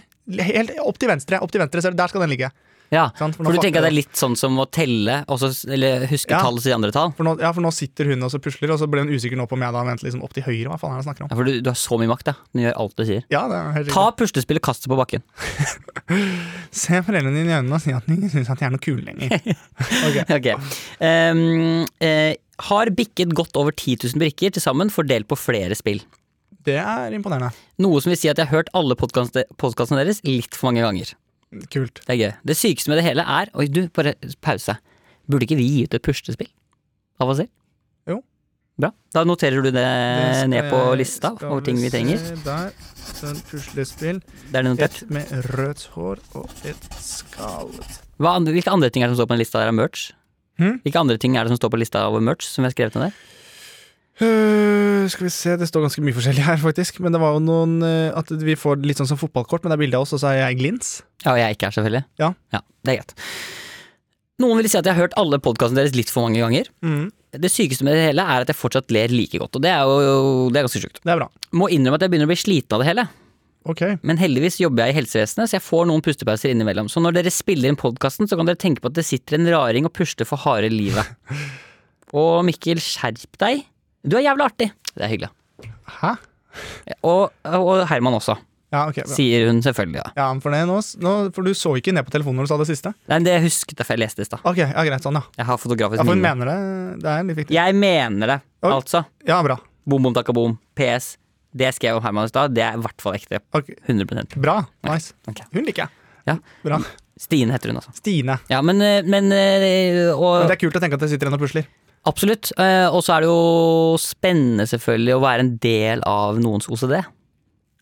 [SPEAKER 2] Helt opp til venstre. Opp til venstre, ser du. Der skal den ligge.
[SPEAKER 3] Ja,
[SPEAKER 2] Sant, for nå
[SPEAKER 3] for du
[SPEAKER 2] fucker
[SPEAKER 3] tenker at det
[SPEAKER 2] jeg
[SPEAKER 3] er litt sånn som å telle, og så, s- eller huske
[SPEAKER 2] Ja.
[SPEAKER 3] tall og si andre tall?
[SPEAKER 2] For nå, ja, for nå sitter hun og så pusler, og så ble hun usikker nå på om jeg da venter liksom opp til høyre. Hva faen er det han snakker om?
[SPEAKER 3] Ja, for du, du har så mye makt, da. Du gjør alt du sier.
[SPEAKER 2] Ja, det er helt riktig.
[SPEAKER 3] Ta puslespillet, kast det på bakken.
[SPEAKER 2] Se foreldrene dine i øynene og si at de ikke syns at de er noe kule lenger. Ok.
[SPEAKER 3] Ok. Ehm, eh, har bikket godt over 10 000 brikker til sammen, fordelt på flere spill.
[SPEAKER 2] Det er imponerende.
[SPEAKER 3] Noe som vil si at jeg har hørt alle podkast- podkastene deres litt for mange ganger.
[SPEAKER 2] Kult.
[SPEAKER 3] Det er gøy. Det sykeste med det hele er Oi, du, bare pause. Burde ikke vi gi ut et puslespill av oss selv?
[SPEAKER 2] Jo.
[SPEAKER 3] Bra. Da noterer du det,
[SPEAKER 2] Det skal
[SPEAKER 3] Eh, ned på
[SPEAKER 2] jeg-
[SPEAKER 3] lista
[SPEAKER 2] skal
[SPEAKER 3] over ting vi trenger.
[SPEAKER 2] se Der. Sånn puslespill.
[SPEAKER 3] Det er notert.
[SPEAKER 2] Et med rødt hår og et skallet
[SPEAKER 3] Hva, andre- hvilke andre ting er det som står på den lista der av merch?
[SPEAKER 2] Hm?
[SPEAKER 3] Hvilke andre ting er det som står på lista over merch? Som vi har skrevet ned der?
[SPEAKER 2] Øh, Skal vi se, det står ganske mye forskjellig her, faktisk. Men det var jo noen øh, At vi får litt sånn som fotballkort, men det er bilde av oss, og så er jeg glins.
[SPEAKER 3] Ja, og jeg ikke er selvfølgelig.
[SPEAKER 2] Ja.
[SPEAKER 3] Det er greit. Noen vil si at jeg har hørt alle podkastene deres litt for mange ganger.
[SPEAKER 2] Mm,
[SPEAKER 3] Det sykeste med det hele er at jeg fortsatt ler like godt, og det er jo det er ganske sjukt.
[SPEAKER 2] det er bra.
[SPEAKER 3] Må innrømme at jeg begynner å bli sliten av det hele,
[SPEAKER 2] Ok.
[SPEAKER 3] men heldigvis jobber jeg i helsevesenet, så jeg får noen pustepauser innimellom. Så når dere spiller inn podkasten, så kan dere tenke på at det sitter en raring og puster for harde livet. Og Mikkel, skjerp deg. Du er jævla artig. Det er hyggelig.
[SPEAKER 2] Hæ?
[SPEAKER 3] Og, og Herman også.
[SPEAKER 2] Ja, ok, bra.
[SPEAKER 3] sier hun selvfølgelig. da
[SPEAKER 2] Ja, for, det, nå, s- nå, for du så ikke ned på telefonen når du sa det siste?
[SPEAKER 3] Nei, men Det jeg husket jeg, for jeg leste det i stad.
[SPEAKER 2] Ok, ja, greit, sånn, ja.
[SPEAKER 3] Jeg har fotografisk
[SPEAKER 2] Ja, for hun
[SPEAKER 3] minne.
[SPEAKER 2] mener det. Det er litt viktig.
[SPEAKER 3] Jeg mener det,
[SPEAKER 2] Oi.
[SPEAKER 3] altså.
[SPEAKER 2] Ja, bra.
[SPEAKER 3] Bom, bom, takka, bom. PS. Det skrev jeg om Herman i stad. Det er i hvert fall ekte.
[SPEAKER 2] Ok,
[SPEAKER 3] 100
[SPEAKER 2] Bra. Nice.
[SPEAKER 3] Ok.
[SPEAKER 2] Hun liker jeg.
[SPEAKER 3] Ja.
[SPEAKER 2] Bra.
[SPEAKER 3] Stine heter hun, altså.
[SPEAKER 2] Stine.
[SPEAKER 3] Ja, men, eh, men eh,
[SPEAKER 2] Men
[SPEAKER 3] og,
[SPEAKER 2] det er kult å tenke at jeg sitter igjen og pusler.
[SPEAKER 3] Absolutt. eh, Og så er det jo spennende, selvfølgelig, å være en del av noens OCD.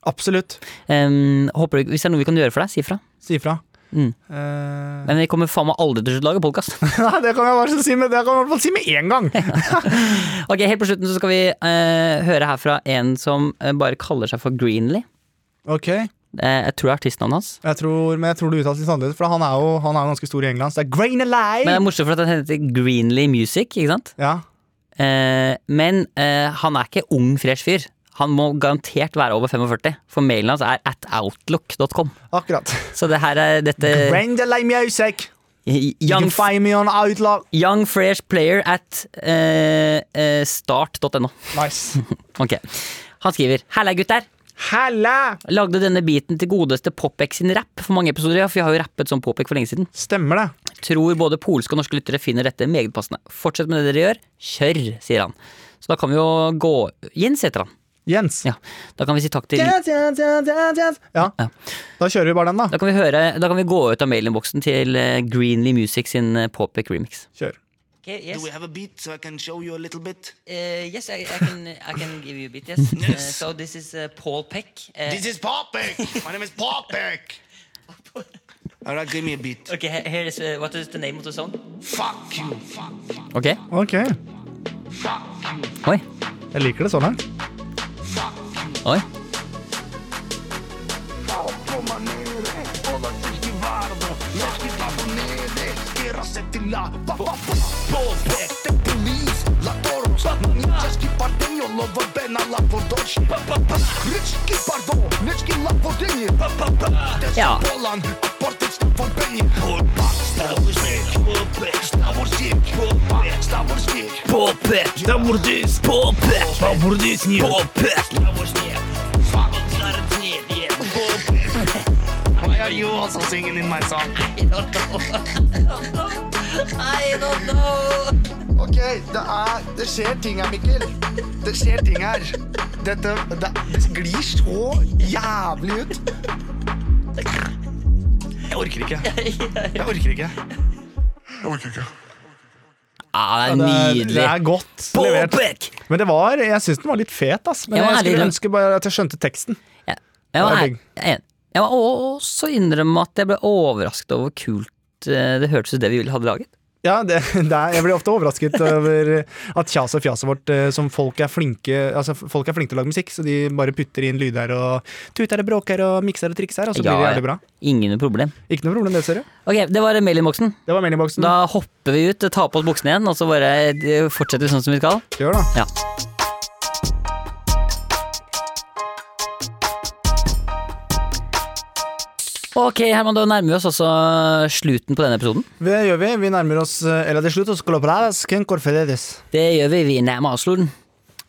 [SPEAKER 2] Absolutt.
[SPEAKER 3] Em, håper du, hvis det er noe vi kan gjøre for deg, si ifra.
[SPEAKER 2] Si ifra.
[SPEAKER 3] Mm.
[SPEAKER 2] Eh,
[SPEAKER 3] Men vi kommer faen meg aldri til å lage podkast.
[SPEAKER 2] Nei, det kan jeg bare si med, det kan jeg i hvert fall si med én gang.
[SPEAKER 3] Ok, Helt på slutten så skal vi eh, høre her fra en som eh, bare kaller seg for Greenlee.
[SPEAKER 2] Ok,
[SPEAKER 3] Eh, jeg tror det er artistnavnet hans.
[SPEAKER 2] jeg tror, Men jeg tror det uttales litt annerledes, for han er jo han er jo ganske stor i England. Så det er Grain Alive!
[SPEAKER 3] Men det er morsomt for at han heter Greenlee Music, ikke sant?
[SPEAKER 2] ja.
[SPEAKER 3] Eh, men eh, han er ikke ung, fresh fyr. Han må garantert være over 45, for mailen hans er at outlook.com.
[SPEAKER 2] Akkurat.
[SPEAKER 3] Så det her er dette
[SPEAKER 2] Grain Alive Music. You
[SPEAKER 3] Young,
[SPEAKER 2] can find me on Outlook.
[SPEAKER 3] young fresh player at eh, eh, start.no.
[SPEAKER 2] Nice.
[SPEAKER 3] Ok. Han skriver Halla, gutter.
[SPEAKER 2] Halla!
[SPEAKER 3] Lagde denne biten til godeste Popek sin rap for mange episoder, ja, for jeg har jo rappet som Popek for lenge siden.
[SPEAKER 2] Stemmer det.
[SPEAKER 3] Tror både polske og norske lyttere finner dette meget passende. Fortsett med det dere gjør. Kjør, sier han. Så da kan vi jo gå Jens heter han.
[SPEAKER 2] Jens.
[SPEAKER 3] Ja. Da kan vi si takk til
[SPEAKER 2] Jens, Jens, Jens, Jens, Jens. Ja.
[SPEAKER 3] Ja.
[SPEAKER 2] Da kjører vi bare den, da.
[SPEAKER 3] Da kan vi, høre, da kan vi gå ut av mailinnboksen til eh, Greenlee Music sin eh, Popek remix.
[SPEAKER 2] Kjør.
[SPEAKER 7] Do we have a beat so I can show you a little bit?
[SPEAKER 3] eh, yes, I, can, give you a bit, yes. Eh,
[SPEAKER 7] Yes. so
[SPEAKER 3] this is Paul Peck. eh,
[SPEAKER 7] This is Popek! My name is Popek! Alright, give me a beat.
[SPEAKER 3] okay, here is, uh, what is the name of the song?
[SPEAKER 7] Fuck you! Fuck, fuck,
[SPEAKER 3] Ok,
[SPEAKER 2] Ok.
[SPEAKER 7] fuck you!
[SPEAKER 3] oi,
[SPEAKER 2] Jeg liker det så langt.
[SPEAKER 3] oi. Ja.
[SPEAKER 7] Why are you also singing in my song? Ok, det er Det skjer ting her, Mikkel. Det skjer ting her. Dette Det, det glir så jævlig ut. Jeg orker ikke. Jeg orker ikke.
[SPEAKER 3] Ah, det er
[SPEAKER 2] Det er, det
[SPEAKER 3] nydelig.
[SPEAKER 2] er godt levert.
[SPEAKER 3] Popek!
[SPEAKER 2] Men det var, jeg syns den var litt fet, ass. Men
[SPEAKER 3] Jeg
[SPEAKER 2] jeg,
[SPEAKER 3] må ærlig
[SPEAKER 2] skulle
[SPEAKER 3] innrømme-
[SPEAKER 2] ønske bare at jeg skjønte teksten.
[SPEAKER 3] Ja. Jeg var,
[SPEAKER 2] Det er
[SPEAKER 3] jeg,
[SPEAKER 2] digg.
[SPEAKER 3] jeg, jeg var også innrømme at jeg ble overrasket over hvor kult eh, det hørtes ut det vi ville- hadde laget.
[SPEAKER 2] Ja, det, det er, Jeg blir ofte overrasket over at kjas og fjaset vårt eh, som folk er flinke Altså, folk er flinke til å lage musikk, så de bare putter inn lyder og tuter og bråker og mikser og trikser, og så blir det
[SPEAKER 3] Ja,
[SPEAKER 2] jævlig bra.
[SPEAKER 3] Ingen problem.
[SPEAKER 2] Ikke noe problem, det, ser du.
[SPEAKER 3] Ok, det var mailinnboksen.
[SPEAKER 2] Det var mailinnboksen.
[SPEAKER 3] Da hopper vi ut, tar på oss buksene igjen, og så bare eh, fortsetter vi sånn som vi skal.
[SPEAKER 2] Gjør da.
[SPEAKER 3] Ja. Ok, Herman, da nærmer vi oss også slutten på denne episoden.
[SPEAKER 2] Det gjør vi. Vi nærmer oss eh, Eller til slutt, og skal opereres Ken Corfededes.
[SPEAKER 3] Det gjør vi. Vi nærmer oss slutten.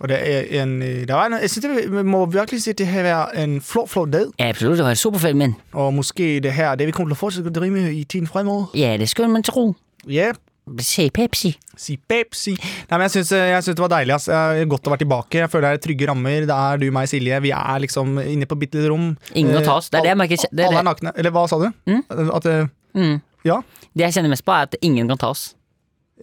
[SPEAKER 2] Og det er en det var en, Jeg synes det, vi må virkelig si at det her er en flott, flott dag,
[SPEAKER 3] Absolutt, det var superfilmen.
[SPEAKER 2] og kanskje det her er det vi kommer til å fortsette å drive med i tiden fremover.
[SPEAKER 3] Ja, det skulle man tro.
[SPEAKER 2] Ja.
[SPEAKER 3] Se Pepsi.
[SPEAKER 2] Si Pepsi. Nei, men jeg syns, jeg syns det var deilig. Ass. Det er Godt å være tilbake. Jeg føler det er trygge rammer. Det er du, meg, Silje. Vi er liksom inne på et bitte lite rom.
[SPEAKER 3] Ingen å
[SPEAKER 2] Eh,
[SPEAKER 3] ta oss. Det er det jeg merker- det er det- Mm?
[SPEAKER 2] alle er nakne. Eller hva sa du? At eh, Ja?
[SPEAKER 3] Det jeg kjenner mest på, er at ingen kan ta oss.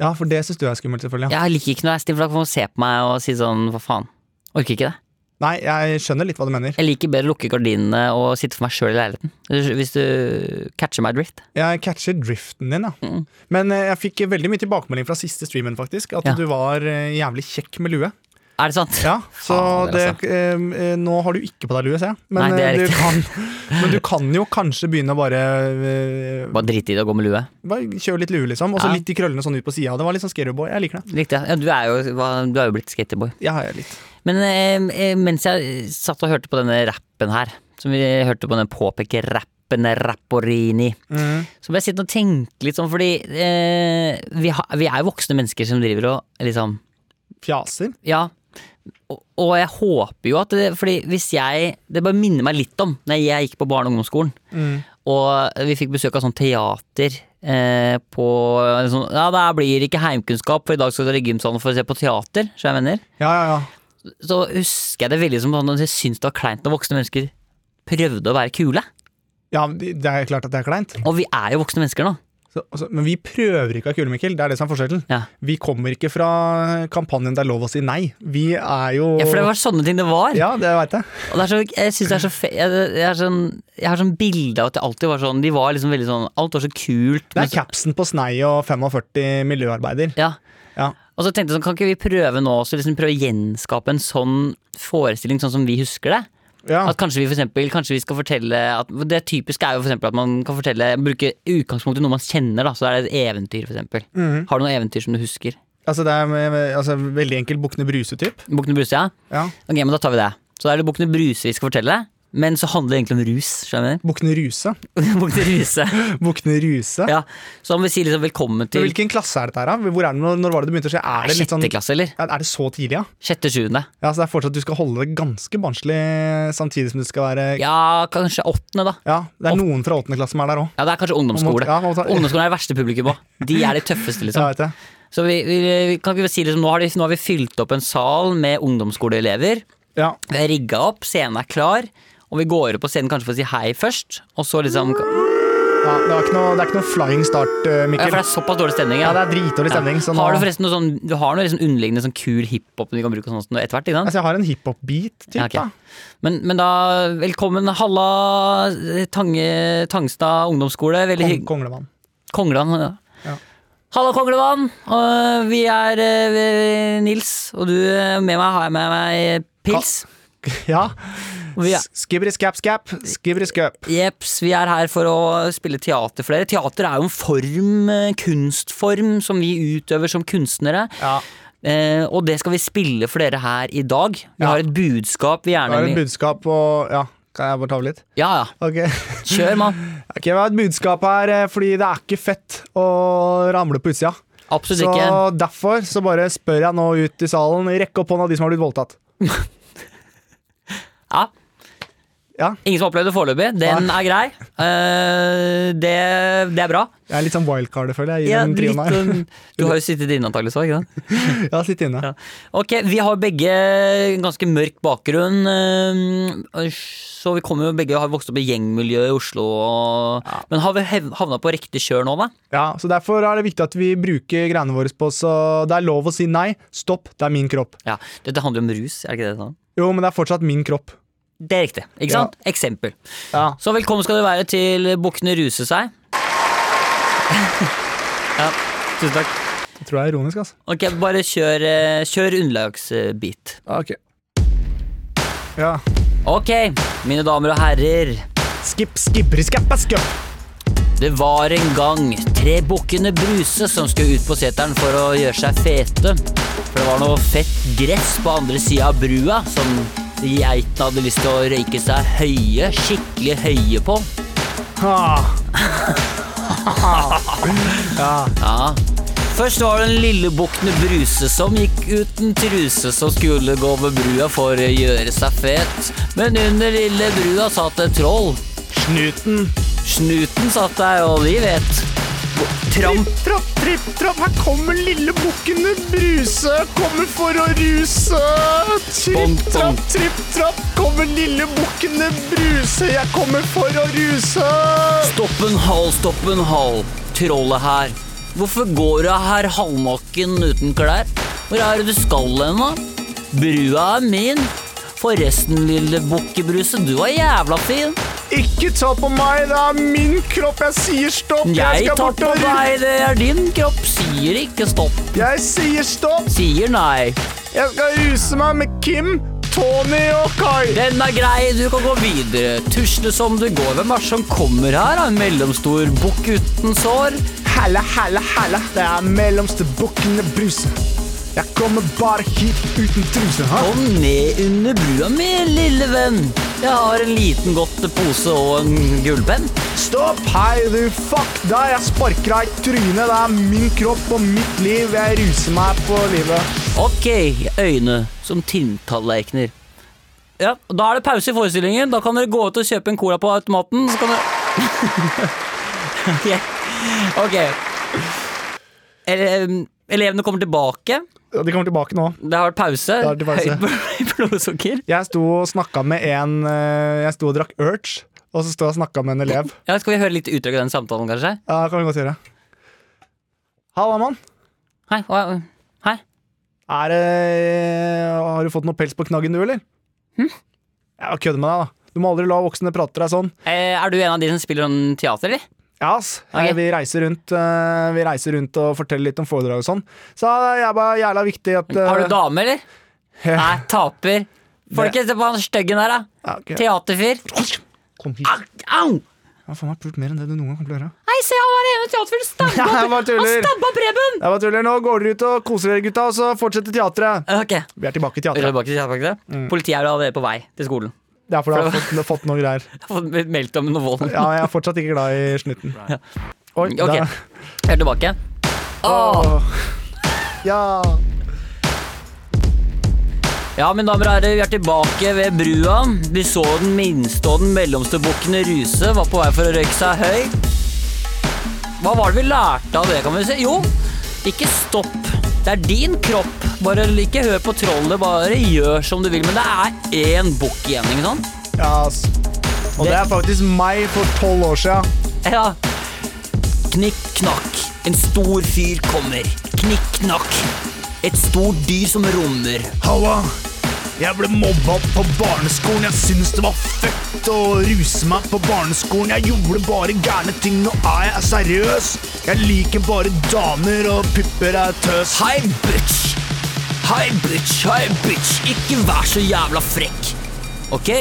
[SPEAKER 2] Ja, for det syns du er skummelt, selvfølgelig.
[SPEAKER 3] Jeg liker ikke når jeg er stiv, for da kan folk se på meg og si sånn hva faen. Orker ikke det.
[SPEAKER 2] Nei, jeg skjønner litt hva du mener.
[SPEAKER 3] Jeg liker bedre å lukke gardinene og sitte for meg sjøl i leiligheten. Hvis du catcher meg drift.
[SPEAKER 2] Jeg catcher driften din, ja.
[SPEAKER 3] Mm.
[SPEAKER 2] Men eh, jeg fikk veldig mye tilbakemelding fra siste streamen, faktisk. At
[SPEAKER 3] Ja.
[SPEAKER 2] du var eh, jævlig kekk med lue.
[SPEAKER 3] Er det sant?
[SPEAKER 2] Ja, så
[SPEAKER 3] Fader,
[SPEAKER 2] det,
[SPEAKER 3] altså.
[SPEAKER 2] eh, eh, nå har du ikke på deg lue, ser jeg. Men,
[SPEAKER 3] Nei, det er
[SPEAKER 2] eh, du
[SPEAKER 3] riktig.
[SPEAKER 2] kan, men du kan jo kanskje begynne å bare eh,
[SPEAKER 3] Bare drite i det og gå med lue.
[SPEAKER 2] Bare kjør litt lue, liksom. Og så
[SPEAKER 3] Ja.
[SPEAKER 2] litt de krøllene sånn ut på sida. Det var litt sånn scaryboy. Jeg liker det.
[SPEAKER 3] Riktig. Ja, du er jo, hva- du er jo blitt skaterboy.
[SPEAKER 2] Ja, jeg er litt.
[SPEAKER 3] Men eh, eh, mens jeg eh, satt og hørte på denne rappen her, som vi hørte på den påpeke-rappen Rapporini,
[SPEAKER 2] Mm.
[SPEAKER 3] så ble jeg sittende og tenke litt sånn, fordi eh, vi, har- vi er jo voksne mennesker som driver og liksom
[SPEAKER 2] Fjaser.
[SPEAKER 3] Ja, og, og jeg håper jo at det, Fordi hvis jeg Det bare minner meg litt om Når jeg gikk på barne- og ungdomsskolen.
[SPEAKER 2] Mm.
[SPEAKER 3] Og vi fikk besøk av sånn teater eh, på sånn, Ja, det her blir ikke heimkunnskap, for i dag skal dere i gymsalen for å se på teater. Så jeg mener
[SPEAKER 2] Ja, ja, ja.
[SPEAKER 3] Så husker jeg det veldig som sånn at jeg syntes det var kleint når voksne mennesker prøvde å være kule.
[SPEAKER 2] Ja, men Det det er klart at det er kleint.
[SPEAKER 3] Og vi er jo voksne mennesker nå.
[SPEAKER 2] Så, altså, men vi prøver ikke å være kule, Mikkel. Det er det som er forskjellen.
[SPEAKER 3] Ja.
[SPEAKER 2] Vi kommer ikke fra kampanjen 'Det er lov å si nei'. Vi er jo
[SPEAKER 3] Ja, for det var sånne ting det var.
[SPEAKER 2] Ja, det veit jeg.
[SPEAKER 3] Og det er så, jeg synes det er så fe jeg, jeg, er sånn, jeg har sånn bilde av at det alltid var sånn De var liksom veldig sånn Alt var så kult.
[SPEAKER 2] Det
[SPEAKER 3] men
[SPEAKER 2] er
[SPEAKER 3] så,
[SPEAKER 2] capsen på snei og 45 miljøarbeider.
[SPEAKER 3] ja.
[SPEAKER 2] Ja.
[SPEAKER 3] Og så tenkte jeg sånn, kan ikke vi prøve nå også liksom prøve å gjenskape en sånn forestilling sånn som vi husker det?
[SPEAKER 2] Ja.
[SPEAKER 3] At kanskje vi for eksempel, kanskje vi skal fortelle at, Det typiske er jo for eksempel at man kan fortelle bruke utgangspunkt i noe man kjenner. da Så er det et eventyr, for eksempel.
[SPEAKER 2] Mhm.
[SPEAKER 3] Har du noe eventyr som du husker?
[SPEAKER 2] Altså, det er eh, altså, veldig enkel Bukkene Bruse-typ.
[SPEAKER 3] Bukkene Bruse, ja?
[SPEAKER 2] Ja.
[SPEAKER 3] Ok, men da tar vi det. Så da er det Bukkene Bruse vi skal fortelle. Men så handler det egentlig om rus. skjønner du?
[SPEAKER 2] Bukkene Ruse.
[SPEAKER 3] Bukkene Bruse.
[SPEAKER 2] Bukkene Ruse.
[SPEAKER 3] Ja, Så om vi sier liksom velkommen
[SPEAKER 2] Men
[SPEAKER 3] til
[SPEAKER 2] Hvilken klasse er dette her, da? Hvor er det, når, når var det det begynte å skje? Er det, litt sånn,
[SPEAKER 3] sjette klasse, eller?
[SPEAKER 2] Ja, er det så tidlig, ja?
[SPEAKER 3] Sjette, sjuende.
[SPEAKER 2] ja? Så det er fortsatt du skal holde det ganske barnslig samtidig som du skal være Ja,
[SPEAKER 3] Ja, kanskje åttende, da.
[SPEAKER 2] det er noen fra åttende klasse som er der òg.
[SPEAKER 3] Ja, Det er kanskje ungdomsskole.
[SPEAKER 2] Ja, man må ta-
[SPEAKER 3] Ungdomsskolen er det verste publikum òg. De er de tøffeste,
[SPEAKER 2] Ja,
[SPEAKER 3] liksom.
[SPEAKER 2] vet jeg.
[SPEAKER 3] Så vi, vi, vi kan ikke si liksom, nå har, de, nå har vi fylt opp en sal med ungdomsskoleelever.
[SPEAKER 2] ja.
[SPEAKER 3] Vi har rigga opp, scenen er klar. Og vi går opp på scenen kanskje for å si hei først. Og så liksom Ja,
[SPEAKER 2] Ja, det, er ikke noe, det er ikke noe flying start,
[SPEAKER 3] For
[SPEAKER 2] eh, Mikkel.
[SPEAKER 3] det er såpass dårlig stemning.
[SPEAKER 2] Ja,
[SPEAKER 3] Ja.
[SPEAKER 2] det er dritdårlig stemning. Så nå,
[SPEAKER 3] Har du forresten noe sånn Du har noe liksom underliggende sånn kul hiphop vi kan bruke og sånt etter hvert? Ikke sant?
[SPEAKER 2] altså, jeg har en hiphop-beat, typ,
[SPEAKER 3] Ja, ok.
[SPEAKER 2] da.
[SPEAKER 3] Men, men da, velkommen Halla eh, Tange, Tangstad ungdomsskole. Veldig
[SPEAKER 2] Kong,
[SPEAKER 3] hygg-
[SPEAKER 2] Konglemann.
[SPEAKER 3] Konglevann. Ja.
[SPEAKER 2] Ja.
[SPEAKER 3] Halla, Konglevann! Og vi er eh, vi- Nils, og du eh, med meg har jeg med meg pils.
[SPEAKER 2] Ja.
[SPEAKER 3] Og vi er,
[SPEAKER 2] Skibri-skap-skap, skibri-skap.
[SPEAKER 3] Jeps, vi er her for å spille teater for dere. Teater er jo en form, eh, kunstform, som vi utøver som kunstnere.
[SPEAKER 2] Ja.
[SPEAKER 3] Eh, og det skal vi spille for dere her i dag. Vi
[SPEAKER 2] Ja.
[SPEAKER 3] har et budskap vi
[SPEAKER 2] Jeg har et
[SPEAKER 3] gjerne vil
[SPEAKER 2] budskap og Ja, kan jeg bare ta over litt?
[SPEAKER 3] Ja ja,
[SPEAKER 2] Ok.
[SPEAKER 3] kjør, mann.
[SPEAKER 2] Ok, Vi har et budskap her, eh, fordi det er ikke fett å ramle på utsida.
[SPEAKER 3] Absolutt
[SPEAKER 2] Så
[SPEAKER 3] ikke.
[SPEAKER 2] derfor så bare spør jeg nå ut i salen. Rekk opp hånda de som har blitt voldtatt.
[SPEAKER 3] Ja.
[SPEAKER 2] Ja.
[SPEAKER 3] Ingen som har opplevd det foreløpig. Den er grei. Eh, det, det er bra.
[SPEAKER 2] Jeg er litt sånn wildcard, føler jeg. i
[SPEAKER 3] Ja,
[SPEAKER 2] den trioen
[SPEAKER 3] litt,
[SPEAKER 2] her.
[SPEAKER 3] um, du har jo sittet inne antakelig så, ikke sant?
[SPEAKER 2] Jeg har sittet inne.
[SPEAKER 3] Ja. Ok, vi har begge ganske mørk bakgrunn, um, så vi kommer jo begge har vokst opp i gjengmiljøet i Oslo. Og, Men har vi hev- havna på riktig kjør nå, da?
[SPEAKER 2] Ja, så Derfor er det viktig at vi bruker greiene våre på så det er lov å si nei. Stopp, det er min kropp.
[SPEAKER 3] Ja, Dette handler jo om rus, er det ikke det? Sånn?
[SPEAKER 2] Jo, men det er fortsatt min kropp.
[SPEAKER 3] Det er riktig. ikke sant? Eksempel.
[SPEAKER 2] Ja.
[SPEAKER 3] Så velkommen skal du være til Bukkene ruse seg. ja, tusen takk.
[SPEAKER 2] Det tror jeg er ironisk, altså.
[SPEAKER 3] Ok, bare kjør, eh, kjør underlagsbit.
[SPEAKER 2] Ok. Ja.
[SPEAKER 3] Ok, mine damer og herrer.
[SPEAKER 2] Skip, skipper, skappa, skup.
[SPEAKER 3] Det var en gang tre bukkene Bruse som skulle ut på seteren for å gjøre seg fete. For det var noe fett gress på andre sida av brua som geitene hadde lyst til å røyke seg høye, skikkelig høye på.
[SPEAKER 2] Ah.
[SPEAKER 3] Ja. Først var det den lille bukkene Bruse som gikk uten truse, som skulle gå over brua for å gjøre seg fet. Men under lille brua satt et troll.
[SPEAKER 2] Snuten.
[SPEAKER 3] Snuten satt der, og de vet. Tramp
[SPEAKER 2] Tripp, trapp, tripp, trapp. Her kommer lille bukkene Bruse. Kommer for å ruse.
[SPEAKER 3] Bom,
[SPEAKER 2] Tripp,
[SPEAKER 3] bom.
[SPEAKER 2] trapp, tripp, trapp. Kommer lille bukkene Bruse. Jeg kommer for å ruse.
[SPEAKER 3] Stopp en hal, stopp en hal, trollet her. Hvorfor går du her halvnakken uten klær? Hvor er det du skal hen, da? Brua er min. Forresten, lille bukkebruse, du er jævla fin.
[SPEAKER 2] Ikke ta på meg. Det er min kropp. Jeg sier stopp.
[SPEAKER 3] Jeg tar på
[SPEAKER 2] ru-
[SPEAKER 3] deg, det er din kropp. Sier ikke stopp,
[SPEAKER 2] Jeg sier stopp.
[SPEAKER 3] sier nei.
[SPEAKER 2] Jeg skal ruse meg med Kim, Tony og Kai.
[SPEAKER 3] Den er grei, du kan gå videre. Tusle som du går. Hvem er det som kommer her? da? En mellomstor bukk uten sår?
[SPEAKER 2] Helle, helle, helle. Det er mellomste bukkene Bruse.
[SPEAKER 7] Jeg kommer bare hit uten truse, ha?
[SPEAKER 3] Kom ned under brua mi, lille venn. Jeg har en liten godt pose og en gullpenn.
[SPEAKER 7] Stopp! Hei, du fuck deg! Jeg sparker deg i trynet. Det er min kropp og mitt liv. Jeg ruser meg på livet.
[SPEAKER 3] Ok, øyne som tinntallerkener. Ja, og da er det pause i forestillingen. Da kan dere gå ut og kjøpe en cola på automaten, så kan dere Ok. Ok. Ele em, elevene kommer tilbake.
[SPEAKER 2] Ja, De kommer tilbake nå.
[SPEAKER 3] Det har vært pause.
[SPEAKER 2] har vært pause.
[SPEAKER 3] Høyt bl- blodsukker.
[SPEAKER 2] Jeg sto og snakka med en eh, Jeg sto og drakk Urge, og så sto jeg og snakka med en elev.
[SPEAKER 3] Ja, skal vi høre litt utdrag av den samtalen, kanskje?
[SPEAKER 2] Ja, det kan vi godt gjøre. Halla, mann.
[SPEAKER 3] Hei. hva- Hei.
[SPEAKER 2] Er det Har du fått noe pels på knaggen, du, eller?
[SPEAKER 3] Hm?
[SPEAKER 2] Jeg kødder med deg, da. Du må aldri la voksne prate til deg sånn.
[SPEAKER 3] Eh, Er du en av de som spiller sånn teater, eller?
[SPEAKER 2] Ja, ass.
[SPEAKER 3] Ok.
[SPEAKER 2] Eh, Vi, reiser rundt, eh, vi reiser rundt og forteller litt om foredrag og sånn. Så det er bare jævla viktig at eh,
[SPEAKER 3] Har du dame, eller?
[SPEAKER 2] Ja.
[SPEAKER 3] Nei, taper. Folkens, se på han styggen der, da.
[SPEAKER 2] Ja, ok.
[SPEAKER 3] Teaterfyr.
[SPEAKER 2] Kom hit.
[SPEAKER 3] Au! au.
[SPEAKER 2] Jeg har faen meg pult mer enn det du noen gang kommer til å gjøre.
[SPEAKER 3] Nei, se, han var ene teaterfyren stabba,
[SPEAKER 2] Ja, jeg bare tuller.
[SPEAKER 3] han stabba Preben!
[SPEAKER 2] Jeg bare tuller. Nå går dere ut og koser dere, gutta, og så fortsetter teatret.
[SPEAKER 3] Ok,
[SPEAKER 2] Vi er tilbake i
[SPEAKER 3] vi er
[SPEAKER 2] teatret.
[SPEAKER 3] tilbake til teaterpakke.
[SPEAKER 2] Mm.
[SPEAKER 3] Politiet er allerede på vei til skolen.
[SPEAKER 2] Det er fordi jeg har fått, fått noen greier.
[SPEAKER 3] Jeg har fått meldt om noe vold.
[SPEAKER 2] Ja, jeg er fortsatt ikke glad i snutten. Oi,
[SPEAKER 3] Ok,
[SPEAKER 2] da-
[SPEAKER 3] jeg er tilbake.
[SPEAKER 2] Ja.
[SPEAKER 3] Ja, mine damer og herrer, vi er tilbake ved brua. Vi så den minste og den mellomste bukkene ruse, var på vei for å røyke seg høy. Hva var det vi lærte av det, kan vi si? Jo, ikke stopp. Det er din kropp. Bare ikke hør på trollet, bare gjør som du vil. Men det er én bukk igjen, ikke sant?
[SPEAKER 2] ja ass. Og det er faktisk meg for tolv år siden.
[SPEAKER 3] Ja. Knikk, knakk. En stor fyr kommer. Knikk, knakk. Et stort dyr som rommer.
[SPEAKER 7] Halla! Jeg ble mobba på barneskolen. Jeg syns det var fett å ruse meg på barneskolen. Jeg gjorde bare gærne ting. Nå er jeg seriøs. Jeg liker bare damer, og pupper er tøs.
[SPEAKER 3] Hei, bitch. Hei, bitch. Hei, bitch. Ikke vær så jævla frekk. Ok?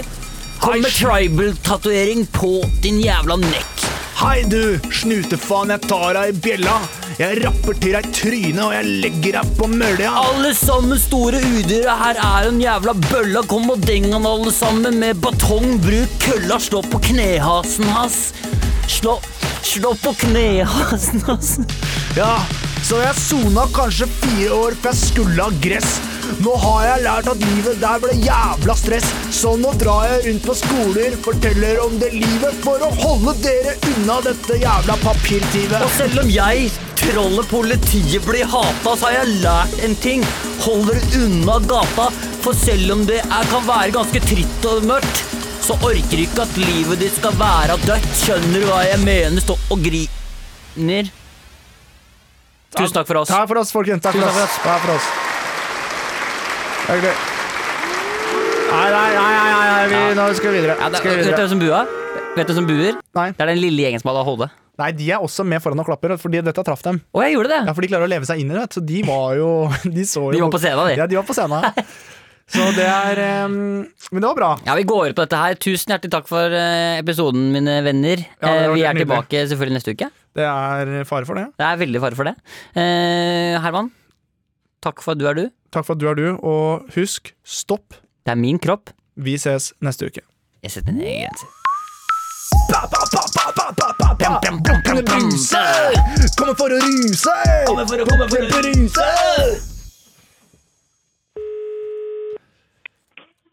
[SPEAKER 3] Kom med tribal-tatovering på din jævla nekk.
[SPEAKER 7] Hei du, snutefaen, jeg tar deg i bjella. Jeg rapper til deg i trynet, og jeg legger deg på mølja.
[SPEAKER 3] Alle sammen store udyra, her er en jævla bølla. Kom og deng han alle sammen med batong. Bruk kølla, slå på knehasen hans. Slå, slå på knehasen hans.
[SPEAKER 7] Ja, så jeg sona kanskje fire år for jeg skulle ha gress. Nå har jeg lært at livet der ble jævla stress, så nå drar jeg rundt på skoler, forteller om det livet for å holde dere unna dette jævla papirtivet.
[SPEAKER 3] Og selv om jeg, trollet politiet, blir hata, så har jeg lært en ting. Hold dere unna gata, for selv om det er, kan være ganske tritt og mørkt, så orker du ikke at livet ditt skal være dødt. Skjønner du hva jeg mener? Stå og griner. Tusen takk for oss.
[SPEAKER 2] Takk for oss, folkens. Takk for
[SPEAKER 3] Tusen
[SPEAKER 2] oss. Takk for oss. Hyggelig. Nei, nei, nei, nei, nei, nei. Vi, nå skal vi videre.
[SPEAKER 3] Ja, det,
[SPEAKER 2] Skal vi
[SPEAKER 3] vet du
[SPEAKER 2] videre.
[SPEAKER 3] hvem som buer? Vet du hvem som buer?
[SPEAKER 2] Nei.
[SPEAKER 3] Det er den lille gjengen som hadde ADHD.
[SPEAKER 2] nei, de er også med foran og klapper, fordi dette traff dem.
[SPEAKER 3] Å, jeg gjorde det!
[SPEAKER 2] Ja, for de klarer å leve seg inn i det, vet du. Så de var jo De, så jo,
[SPEAKER 3] De var på scenen, de.
[SPEAKER 2] Ja, de var på scenen. Så det er eh, Men det var bra.
[SPEAKER 3] Ja, vi går ut på dette her. Tusen hjertelig takk for eh, episoden, mine venner.
[SPEAKER 2] Ja, det
[SPEAKER 3] Eh,
[SPEAKER 2] var
[SPEAKER 3] vi er
[SPEAKER 2] nydelig.
[SPEAKER 3] tilbake selvfølgelig neste uke.
[SPEAKER 2] Det er fare for det.
[SPEAKER 3] Det er veldig fare for det. Eh, Herman, takk for at du er du.
[SPEAKER 2] Takk for at du er du, og husk, stopp.
[SPEAKER 3] Det er min kropp.
[SPEAKER 2] Vi ses neste uke.
[SPEAKER 3] Jeg setter mine egne grenser.
[SPEAKER 7] Ruse! Kommer for å ruse! Kommer for å, kommer for å ruse!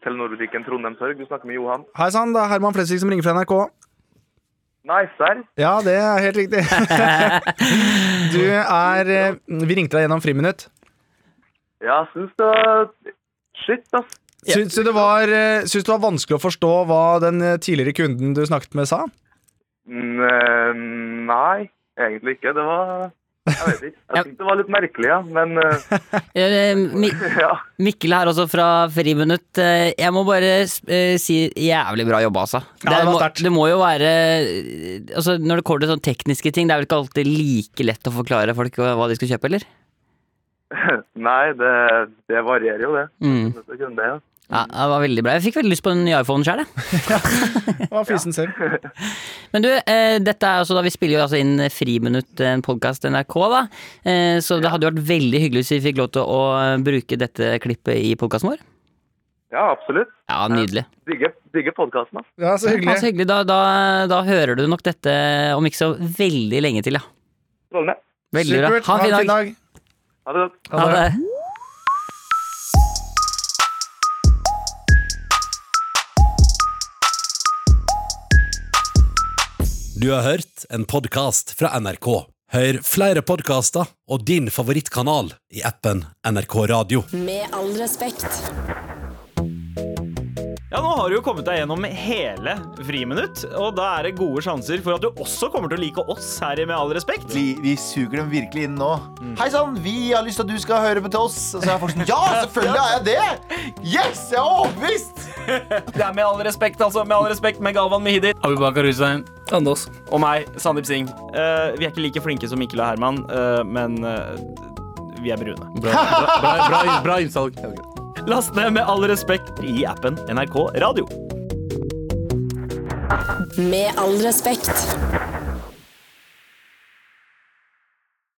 [SPEAKER 4] Telenor-butikken Trondheim Sørg, du snakker med Johan.
[SPEAKER 2] Hei sann, det er Herman Flesvig som ringer fra NRK.
[SPEAKER 4] Nei, serr?
[SPEAKER 2] Ja, det er helt riktig. Du er eh, Vi ringte deg gjennom Friminutt.
[SPEAKER 4] Ja, jeg syns det var Shit, ass.
[SPEAKER 2] Syns du det var, eh, syns du det var vanskelig å forstå hva den eh, tidligere kunden du snakket med, sa?
[SPEAKER 4] Mm, eh, Nei, egentlig ikke. Det var Jeg vet ikke. Jeg syntes det var litt merkelig, ja. Men eh,
[SPEAKER 3] Eh, Mi
[SPEAKER 4] ja.
[SPEAKER 3] Mikkel her også fra Friminutt. Eh, Jeg må bare eh, si jævlig bra jobba, altså.
[SPEAKER 2] Ja, det var
[SPEAKER 3] må,
[SPEAKER 2] sterkt.
[SPEAKER 3] det må jo være altså, Når det kommer til sånne tekniske ting, det er vel ikke alltid like lett å forklare folk hva hva de skal kjøpe, eller?
[SPEAKER 4] Nei, det, det varierer jo, det.
[SPEAKER 3] Mm.
[SPEAKER 4] Det kunne det, ja.
[SPEAKER 3] Ja, det var veldig bra. Jeg fikk veldig lyst på en ny iPhone sjøl, jeg.
[SPEAKER 2] Det var fysen selv.
[SPEAKER 3] Men du, eh, dette er altså da vi spiller jo altså inn Friminutt, en podkast NRK, da. Eh, så det hadde jo vært veldig hyggelig hvis vi fikk lov til å eh, bruke dette klippet i podkasten vår.
[SPEAKER 4] Ja, absolutt.
[SPEAKER 3] Ja, nydelig.
[SPEAKER 4] Digger, digger podkasten, da.
[SPEAKER 2] Ja, så
[SPEAKER 3] Ja,
[SPEAKER 2] hyggelig.
[SPEAKER 3] så hyggelig. Da, da, da hører du nok dette om ikke så veldig lenge til, ja.
[SPEAKER 4] Strålende.
[SPEAKER 3] Veldig bra.
[SPEAKER 2] Supert.
[SPEAKER 3] Ha en fin dag.
[SPEAKER 4] Ha det godt.
[SPEAKER 3] Ha det.
[SPEAKER 8] Du har hørt en podkast fra NRK. Hør flere podkaster og din favorittkanal i appen NRK Radio.
[SPEAKER 9] Med all respekt.
[SPEAKER 10] Ja, nå har du jo kommet deg gjennom hele Friminutt, og da er det gode sjanser for at du også kommer til å like oss her i Med all respekt.
[SPEAKER 7] Vi, vi suger dem virkelig inn nå. Hei sann, vi har lyst til at du skal høre på til oss. Og så er folk sånn Ja, selvfølgelig har jeg det! Yes, jeg er overbevist!
[SPEAKER 10] Det er Med all respekt, altså. Med all respekt med Galvan Mehidi. Abubakar Hussein. Anders. Og meg, Sandeep Singh. Eh, vi er ikke like flinke som Mikkel og Herman, eh, men eh, vi er brune. Bra, innsalg. Last ned Med all respekt i appen NRK Radio.
[SPEAKER 9] Med all respekt.